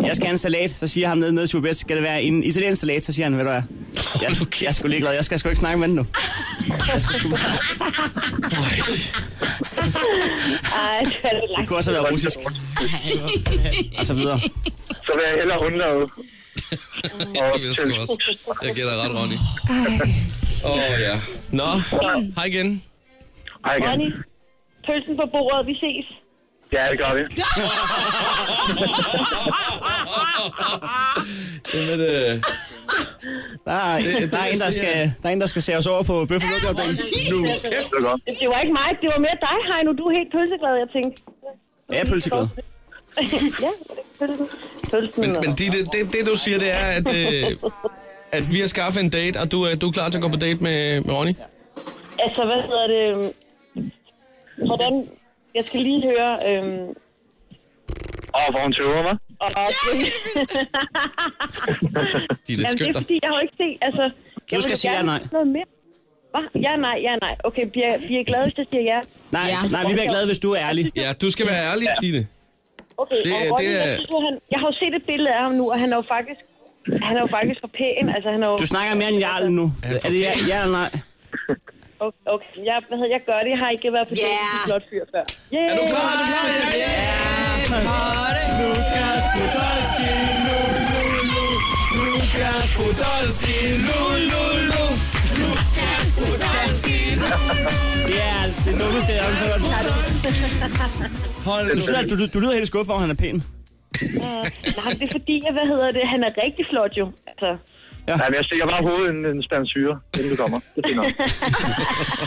[SPEAKER 4] jeg skal have en salat. Så siger han nede, nede i Surbest, skal det være en italiensk salat? Så siger han, ved du hvad, jeg, jeg er sgu ligeglad, jeg skal sgu ikke snakke med den nu. Jeg skal sgu...
[SPEAKER 19] Ej, det er lidt
[SPEAKER 4] Det kunne også have været russisk. Og så videre.
[SPEAKER 16] Så vil jeg hellere undlade.
[SPEAKER 3] det vil jeg sgu også. Jeg gætter ret, Ronny. Åh, oh, ja. Nå, hej igen.
[SPEAKER 16] Hej
[SPEAKER 19] Ronny, pølsen på bordet. Vi ses.
[SPEAKER 16] Ja, det gør vi.
[SPEAKER 3] Jamen, øh,
[SPEAKER 4] Der er,
[SPEAKER 14] det,
[SPEAKER 4] der er, en, der
[SPEAKER 14] jeg siger.
[SPEAKER 4] skal, der er en, der skal se os over på bøf og lukkeopdagen. Nu.
[SPEAKER 19] Det, det var ikke mig. Det var mere dig, Heino. Du er helt pølseglad, jeg tænkte.
[SPEAKER 4] Jeg er pølseglad.
[SPEAKER 19] ja, pølsen. pølsen.
[SPEAKER 3] men, men det, det, det, det, du siger, det er, at, øh, at vi har skaffet en date, og du, er- du er klar til at gå på date med, med Ronny?
[SPEAKER 19] Altså, hvad hedder det? Hvordan... Jeg skal lige høre... Øhm,
[SPEAKER 16] Åh, hvor hun tøver, hva'?
[SPEAKER 19] og, og,
[SPEAKER 3] De er
[SPEAKER 19] Jamen,
[SPEAKER 3] lidt
[SPEAKER 19] det er
[SPEAKER 3] skønter.
[SPEAKER 19] fordi, jeg har jo ikke set... Altså, jeg vil
[SPEAKER 4] skal
[SPEAKER 19] jo
[SPEAKER 4] sige
[SPEAKER 19] gerne
[SPEAKER 4] ja, nej.
[SPEAKER 19] vide Noget mere. Hva? Ja, nej, ja, nej. Okay, bliver, bliver I glade, hvis jeg siger ja?
[SPEAKER 4] Nej, nej, vi bliver glade, hvis du er ærlig.
[SPEAKER 3] Ja, du skal være ærlig, Dine.
[SPEAKER 19] Okay,
[SPEAKER 3] Det
[SPEAKER 19] det, og
[SPEAKER 3] er-
[SPEAKER 19] Ronny,
[SPEAKER 3] det
[SPEAKER 19] det
[SPEAKER 3] er-
[SPEAKER 19] Jeg, synes, jo, han, jeg har jo set et billede af ham nu, og han er jo faktisk... Han er jo faktisk for pæn. Altså, han er jo... Altså-
[SPEAKER 4] Du snakker mere end Jarl nu. Er det ja, ja eller nej?
[SPEAKER 19] Okay, okay. Jeg, hvad hedder, jeg gør det. Jeg har ikke været på yeah. det med en flot fyr før. Yeah. Er du klar? Er du klar? Yeah.
[SPEAKER 14] Lukas Podolski, nu, nu, nu. Lukas Podolski, nu, nu, nu. Lukas Podolski, nu,
[SPEAKER 4] Det er det dummeste, jeg har hørt. Hold du, lyder, du, du lyder helt skuffet over, at han er pæn.
[SPEAKER 19] Øh, Nej, det er fordi, at, hvad hedder det, han er rigtig flot jo. Altså,
[SPEAKER 16] Ja. Nej, men jeg stikker bare hovedet en, en spand syre, inden du kommer. Det er fint nok.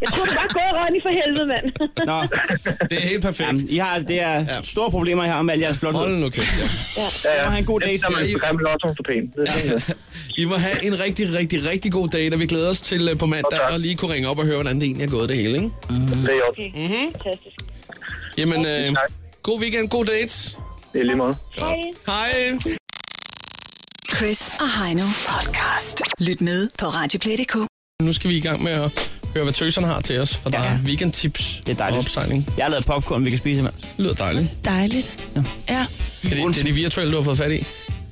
[SPEAKER 19] jeg tror, det var gået, Ronny, for helvede, mand.
[SPEAKER 4] Nå.
[SPEAKER 3] Det er helt perfekt.
[SPEAKER 4] Jamen, I har, det er ja. store problemer, I har med alle jeres flotte
[SPEAKER 3] Hold nu kæft, ja.
[SPEAKER 16] Ja, ja.
[SPEAKER 4] Og han en god date.
[SPEAKER 16] Efter man er grimme lotto for pæn. Det er sådan, det.
[SPEAKER 3] I må have en rigtig, rigtig, rigtig god date, og vi glæder os til øh, på mandag og lige kunne ringe op og høre, hvordan det egentlig er gået det hele, ikke?
[SPEAKER 16] Mm. Det er jo.
[SPEAKER 19] Okay, mm-hmm. fantastisk.
[SPEAKER 3] Jamen, øh, god weekend, god dates.
[SPEAKER 16] Det er lige måde.
[SPEAKER 19] Hej.
[SPEAKER 3] Hej.
[SPEAKER 2] Chris og Heino podcast. Lyt med på Radioplay.dk.
[SPEAKER 3] Nu skal vi i gang med at høre, hvad tøserne har til os, for der er weekendtips det er og opsejling.
[SPEAKER 4] Jeg har lavet popcorn, vi kan spise imens.
[SPEAKER 3] Det lyder dejligt.
[SPEAKER 18] Dejligt. Ja.
[SPEAKER 3] Det er, de- det er de virtuelle, du har fået fat i.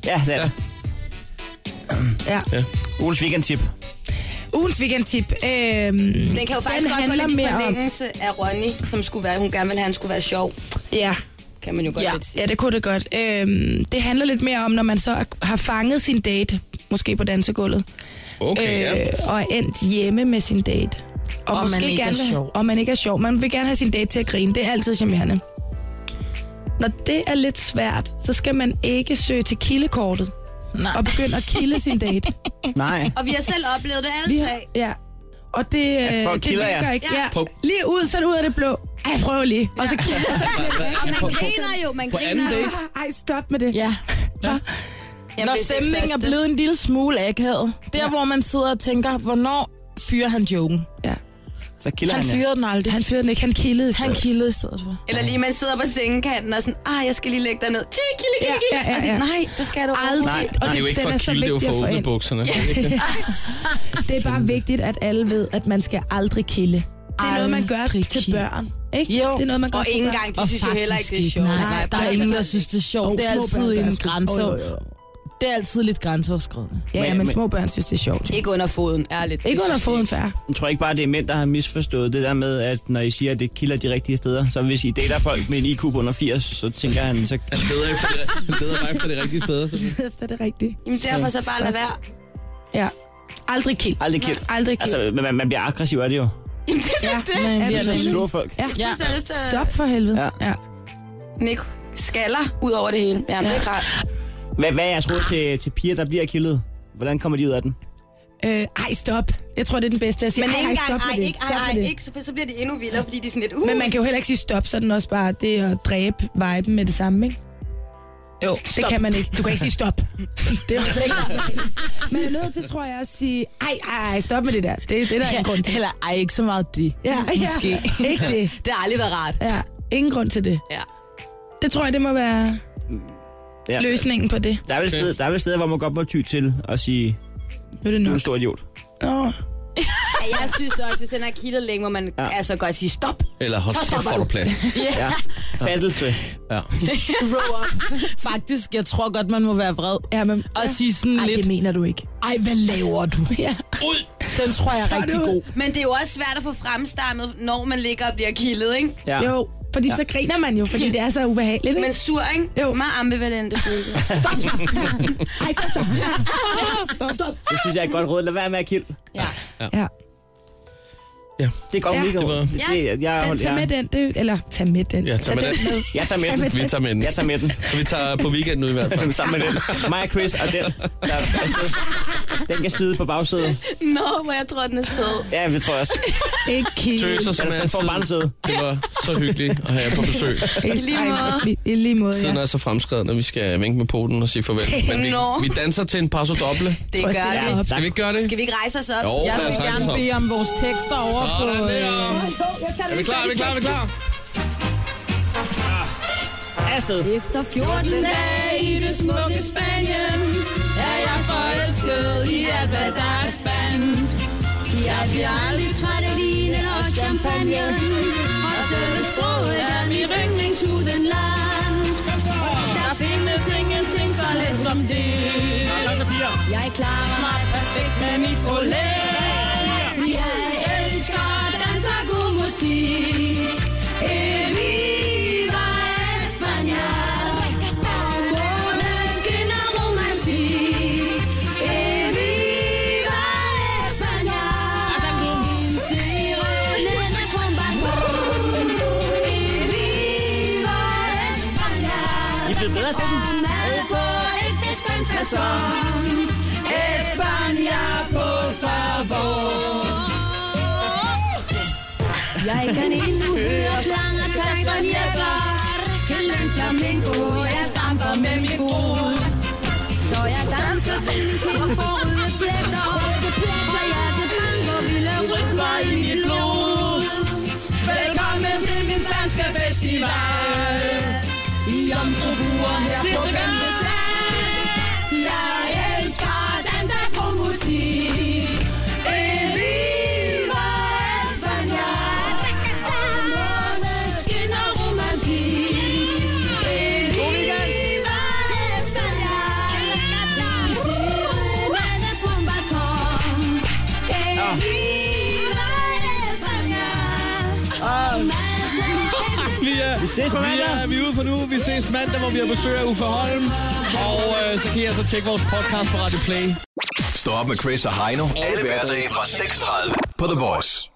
[SPEAKER 4] Ja, det er det.
[SPEAKER 18] Ja.
[SPEAKER 3] Ja.
[SPEAKER 4] Ugens weekendtip.
[SPEAKER 18] Ugens weekendtip. Øhm,
[SPEAKER 17] Den kan jo faktisk godt gå
[SPEAKER 18] handler
[SPEAKER 17] lidt i
[SPEAKER 18] mere om-
[SPEAKER 17] forlængelse af Ronny, som skulle være, hun gerne ville have, han skulle være sjov.
[SPEAKER 18] Ja.
[SPEAKER 17] Kan man jo godt
[SPEAKER 18] ja.
[SPEAKER 17] lidt sige.
[SPEAKER 18] Ja, det kunne det godt. Øhm, det handler lidt mere om, når man så er- har fanget sin date, måske på dansegulvet. Øh,
[SPEAKER 3] Okay, ja.
[SPEAKER 18] Og er endt hjemme med sin date.
[SPEAKER 2] Og man ikke er
[SPEAKER 18] gerne vil-
[SPEAKER 2] sjov.
[SPEAKER 18] Og man ikke er sjov. Man vil gerne have sin date til at grine. Det er altid charmerende. Når det er lidt svært, så skal man ikke søge til kildekortet. Nej. Og begynde at kilde sin date.
[SPEAKER 4] Nej.
[SPEAKER 17] Og vi har selv oplevet det alle
[SPEAKER 18] Vi
[SPEAKER 17] tre.
[SPEAKER 18] har, ja. Og det, øh,
[SPEAKER 17] folk
[SPEAKER 18] det
[SPEAKER 17] kilder jer.
[SPEAKER 18] virker ikke.
[SPEAKER 17] Ja.
[SPEAKER 18] Ja.
[SPEAKER 17] På-
[SPEAKER 18] Lige ud, så er det ud af det blå. Ej, prøv lige. Og så kilder
[SPEAKER 17] Og man griner jo, man griner.
[SPEAKER 18] Ej, stop med det.
[SPEAKER 20] Ja.
[SPEAKER 18] Nå.
[SPEAKER 20] Når
[SPEAKER 17] hvis det er
[SPEAKER 20] stemningen er
[SPEAKER 17] faste.
[SPEAKER 20] blevet en lille smule akavet. Der, ja. hvor man sidder og tænker, hvornår fyrer han joken?
[SPEAKER 18] Ja.
[SPEAKER 4] Der kilder han, ja.
[SPEAKER 17] den aldrig.
[SPEAKER 18] Han fyrede den ikke, han kildede i stedet.
[SPEAKER 17] Han
[SPEAKER 18] kildede i stedet for.
[SPEAKER 17] Eller lige man sidder på sengekanten og sådan, ah, jeg skal lige lægge dig ned. Tjek, kilde, kilde,
[SPEAKER 18] Ja, ja, ja,
[SPEAKER 17] kilde.
[SPEAKER 18] ja.
[SPEAKER 17] Og sådan, Nej, der skal du
[SPEAKER 18] Aldrig.
[SPEAKER 17] Nej,
[SPEAKER 3] Og det er jo ikke for
[SPEAKER 18] den er
[SPEAKER 3] at
[SPEAKER 18] så
[SPEAKER 3] kilde, det er jo for
[SPEAKER 18] vigtig at
[SPEAKER 3] at
[SPEAKER 18] få
[SPEAKER 3] åbne
[SPEAKER 18] ind.
[SPEAKER 3] bukserne. Er det ikke det?
[SPEAKER 18] Det er bare vigtigt, at alle ved, at man skal aldrig kille. Det er noget, man gør
[SPEAKER 20] Aldrig
[SPEAKER 18] til
[SPEAKER 20] kilde.
[SPEAKER 18] børn. Ikke?
[SPEAKER 20] Jo.
[SPEAKER 18] Det er noget, man gør
[SPEAKER 20] Og
[SPEAKER 18] til
[SPEAKER 20] ikke
[SPEAKER 18] børn.
[SPEAKER 20] engang, de Og synes jo heller ikke, det er faktisk sjovt. ikke. Nej, Nej, der er børn ingen, der gør synes, det er ikke. sjovt.
[SPEAKER 18] Og
[SPEAKER 20] Det er
[SPEAKER 18] små
[SPEAKER 20] altid
[SPEAKER 18] børn gør
[SPEAKER 20] en
[SPEAKER 18] det sgu.
[SPEAKER 20] grænse-
[SPEAKER 18] Jo, jo, jo.
[SPEAKER 20] Det er altid lidt grænseoverskridende.
[SPEAKER 18] Ja, men, men små børn synes, det er sjovt.
[SPEAKER 17] Ikke under foden, ærligt.
[SPEAKER 18] Ikke under foden, færre.
[SPEAKER 4] Jeg tror ikke bare, det er mænd, der har misforstået det der med, at når I siger, at det kilder de rigtige steder, så hvis I dater folk med en IQ på under 80, så tænker han, så... Han
[SPEAKER 3] leder efter det, leder bare efter det rigtige sted. Så...
[SPEAKER 18] Efter det rigtige.
[SPEAKER 17] Jamen derfor så bare lad være.
[SPEAKER 18] Ja. Aldrig kild.
[SPEAKER 4] Aldrig kild.
[SPEAKER 18] Aldrig kild.
[SPEAKER 4] Altså, men man, man bliver aggressiv af det jo.
[SPEAKER 17] Jamen, det er
[SPEAKER 18] Ja,
[SPEAKER 17] det.
[SPEAKER 18] man
[SPEAKER 4] Ja,
[SPEAKER 18] bliver
[SPEAKER 4] så
[SPEAKER 18] nemlig-
[SPEAKER 4] slå folk.
[SPEAKER 18] Ja.
[SPEAKER 17] Hvis der er lyst til at-
[SPEAKER 18] Stop for helvede. Ja. ja.
[SPEAKER 17] Nico skaller ud over det hele. Jamen, det er klart.
[SPEAKER 4] Hvad, hvad er jeres råd til, til piger, der bliver kildet? Hvordan kommer de ud af den?
[SPEAKER 18] Øh, ej, stop. Jeg tror, det er den bedste. Jeg siger,
[SPEAKER 17] Men
[SPEAKER 18] ej,
[SPEAKER 17] ikke
[SPEAKER 18] ej, stop
[SPEAKER 17] engang, ej,
[SPEAKER 18] med det.
[SPEAKER 17] ikke,
[SPEAKER 18] Stop med
[SPEAKER 17] ej,
[SPEAKER 18] det.
[SPEAKER 17] ej, ikke, så, så bliver de endnu vildere, fordi de er sådan lidt, uh.
[SPEAKER 18] Men man kan jo heller ikke sige stop, så er den også bare det er at dræbe viben med det samme, ikke?
[SPEAKER 20] Jo,
[SPEAKER 18] stop. Det kan man ikke. Du kan ikke sige stop. det er jo ikke.
[SPEAKER 17] Altså-
[SPEAKER 18] Man er nødt til, tror jeg, at sige, ej, ej, ej, stop med det der. Det, det er der ja,
[SPEAKER 20] Ja,
[SPEAKER 18] en grund til.
[SPEAKER 20] Eller ej, ikke så meget det.
[SPEAKER 18] Ja, ja,
[SPEAKER 20] Måske.
[SPEAKER 18] ikke det.
[SPEAKER 17] Det har aldrig været rart.
[SPEAKER 18] Ja, ingen grund til det.
[SPEAKER 17] Ja.
[SPEAKER 18] Det tror jeg, det må være
[SPEAKER 4] Ja.
[SPEAKER 18] løsningen på det.
[SPEAKER 4] Der er vel okay. sted, der er vel steder, hvor man godt må ty til at sige,
[SPEAKER 18] nu er det
[SPEAKER 4] du er en stor idiot.
[SPEAKER 18] Åh.
[SPEAKER 17] Ja, jeg synes også, hvis den har kildet længe, må man ja. altså godt sige stop.
[SPEAKER 3] Eller hold
[SPEAKER 17] Så
[SPEAKER 3] kæft,
[SPEAKER 17] stopper
[SPEAKER 3] får du
[SPEAKER 17] du.
[SPEAKER 3] plads.
[SPEAKER 20] Ja.
[SPEAKER 4] Fattelse.
[SPEAKER 3] Ja.
[SPEAKER 20] Grow up. Faktisk, jeg tror godt, man må være vred.
[SPEAKER 18] Ja, men,
[SPEAKER 20] og sige sådan
[SPEAKER 18] Ej,
[SPEAKER 20] lidt...
[SPEAKER 18] det mener du ikke.
[SPEAKER 20] Ej, hvad laver du?
[SPEAKER 18] Ja.
[SPEAKER 20] Ud! Den tror jeg er rigtig god.
[SPEAKER 17] Men det er jo også svært at få fremstammet, når man ligger og bliver kildet, ikke?
[SPEAKER 4] Ja.
[SPEAKER 18] Jo, fordi ja. så griner man jo, fordi det er så ubehageligt, ikke?
[SPEAKER 17] Men sur, ikke? Jo. Meget ambivalente følelser.
[SPEAKER 18] Stop! Ej, stop, stop.
[SPEAKER 17] stop, stop.
[SPEAKER 4] Det synes jeg er et godt råd. Lad være med at kilde.
[SPEAKER 17] Ja.
[SPEAKER 18] Ja.
[SPEAKER 3] Ja.
[SPEAKER 4] Det går
[SPEAKER 18] Ja.
[SPEAKER 4] mega
[SPEAKER 18] Det var-
[SPEAKER 4] godt. Det, jeg,
[SPEAKER 18] Den, tag med den, det, eller tag med den.
[SPEAKER 3] Ja, tag med den.
[SPEAKER 4] Jeg tager med den.
[SPEAKER 3] Vi tager med den.
[SPEAKER 4] Jeg tager med den.
[SPEAKER 3] Vi tager på weekend nu i hvert fald.
[SPEAKER 4] Sammen med den. Mig og Chris og den. Der er afsted. Den kan sidde på bagsædet.
[SPEAKER 17] Nå, hvor jeg tror, den er sød.
[SPEAKER 4] Ja, vi tror jeg også.
[SPEAKER 18] Ikke kill.
[SPEAKER 3] Tøser som
[SPEAKER 4] Den er for
[SPEAKER 3] altid.
[SPEAKER 4] barnsød.
[SPEAKER 3] Det var så hyggeligt at have jer på besøg.
[SPEAKER 18] I lige måde. I lige måde, ja.
[SPEAKER 3] Tiden er så fremskreden, at vi skal vinke med poten og sige farvel. Men
[SPEAKER 17] Nå.
[SPEAKER 3] vi, vi danser til en passo doble.
[SPEAKER 17] Det
[SPEAKER 18] Tror jeg,
[SPEAKER 17] gør
[SPEAKER 18] det er
[SPEAKER 17] vi.
[SPEAKER 18] op.
[SPEAKER 3] Skal vi ikke gøre det?
[SPEAKER 17] Skal vi ikke rejse os op?
[SPEAKER 3] Jo,
[SPEAKER 20] Jeg
[SPEAKER 3] lad
[SPEAKER 20] vil
[SPEAKER 3] os rejse
[SPEAKER 20] gerne
[SPEAKER 3] os op.
[SPEAKER 20] bede om vores tekster over på...
[SPEAKER 3] Sådan der.
[SPEAKER 20] øh,
[SPEAKER 3] Er vi klar? Er vi klar? Er vi klar?
[SPEAKER 4] Afsted.
[SPEAKER 20] Efter 14
[SPEAKER 14] dage i det smukke Spanien Er jeg forelsket i alt, hvad der er spansk Jeg bliver aldrig træt af vinen og champagne Og selve sproget er mit yndlingsudenlands Der findes ingenting så let som det Jeg klarer mig perfekt med mit olé Jeg elsker at danse og god musik Eviva España Månen skinner romantik. Eviva España. En sirene er på en balkon. Eviva España.
[SPEAKER 4] I bliver bedre til den.
[SPEAKER 14] Og mad på ægte spansk facon. España, por favor. Jeg kan endnu høre klang af kastanjetter Til en flamingo, jeg stamper med mit kron Så jeg danser til min kinde for røde pletter For jeg er til banko, vilde rytmer i mit blod Velkommen til min spanske festival I jomfrubuer her på Bændesand Jeg elsker at danse på musik Eviva España
[SPEAKER 3] Vi, er, vi
[SPEAKER 4] ses på
[SPEAKER 3] Vi er,
[SPEAKER 4] mandag.
[SPEAKER 3] vi er ude for nu. Vi ses mandag, hvor vi har besøg af Uffe Holm. Og øh, så kan I altså tjekke vores podcast på Radio Play.
[SPEAKER 5] Stå op med Chris og Heino. Alle hverdage fra 6.30 på The Voice.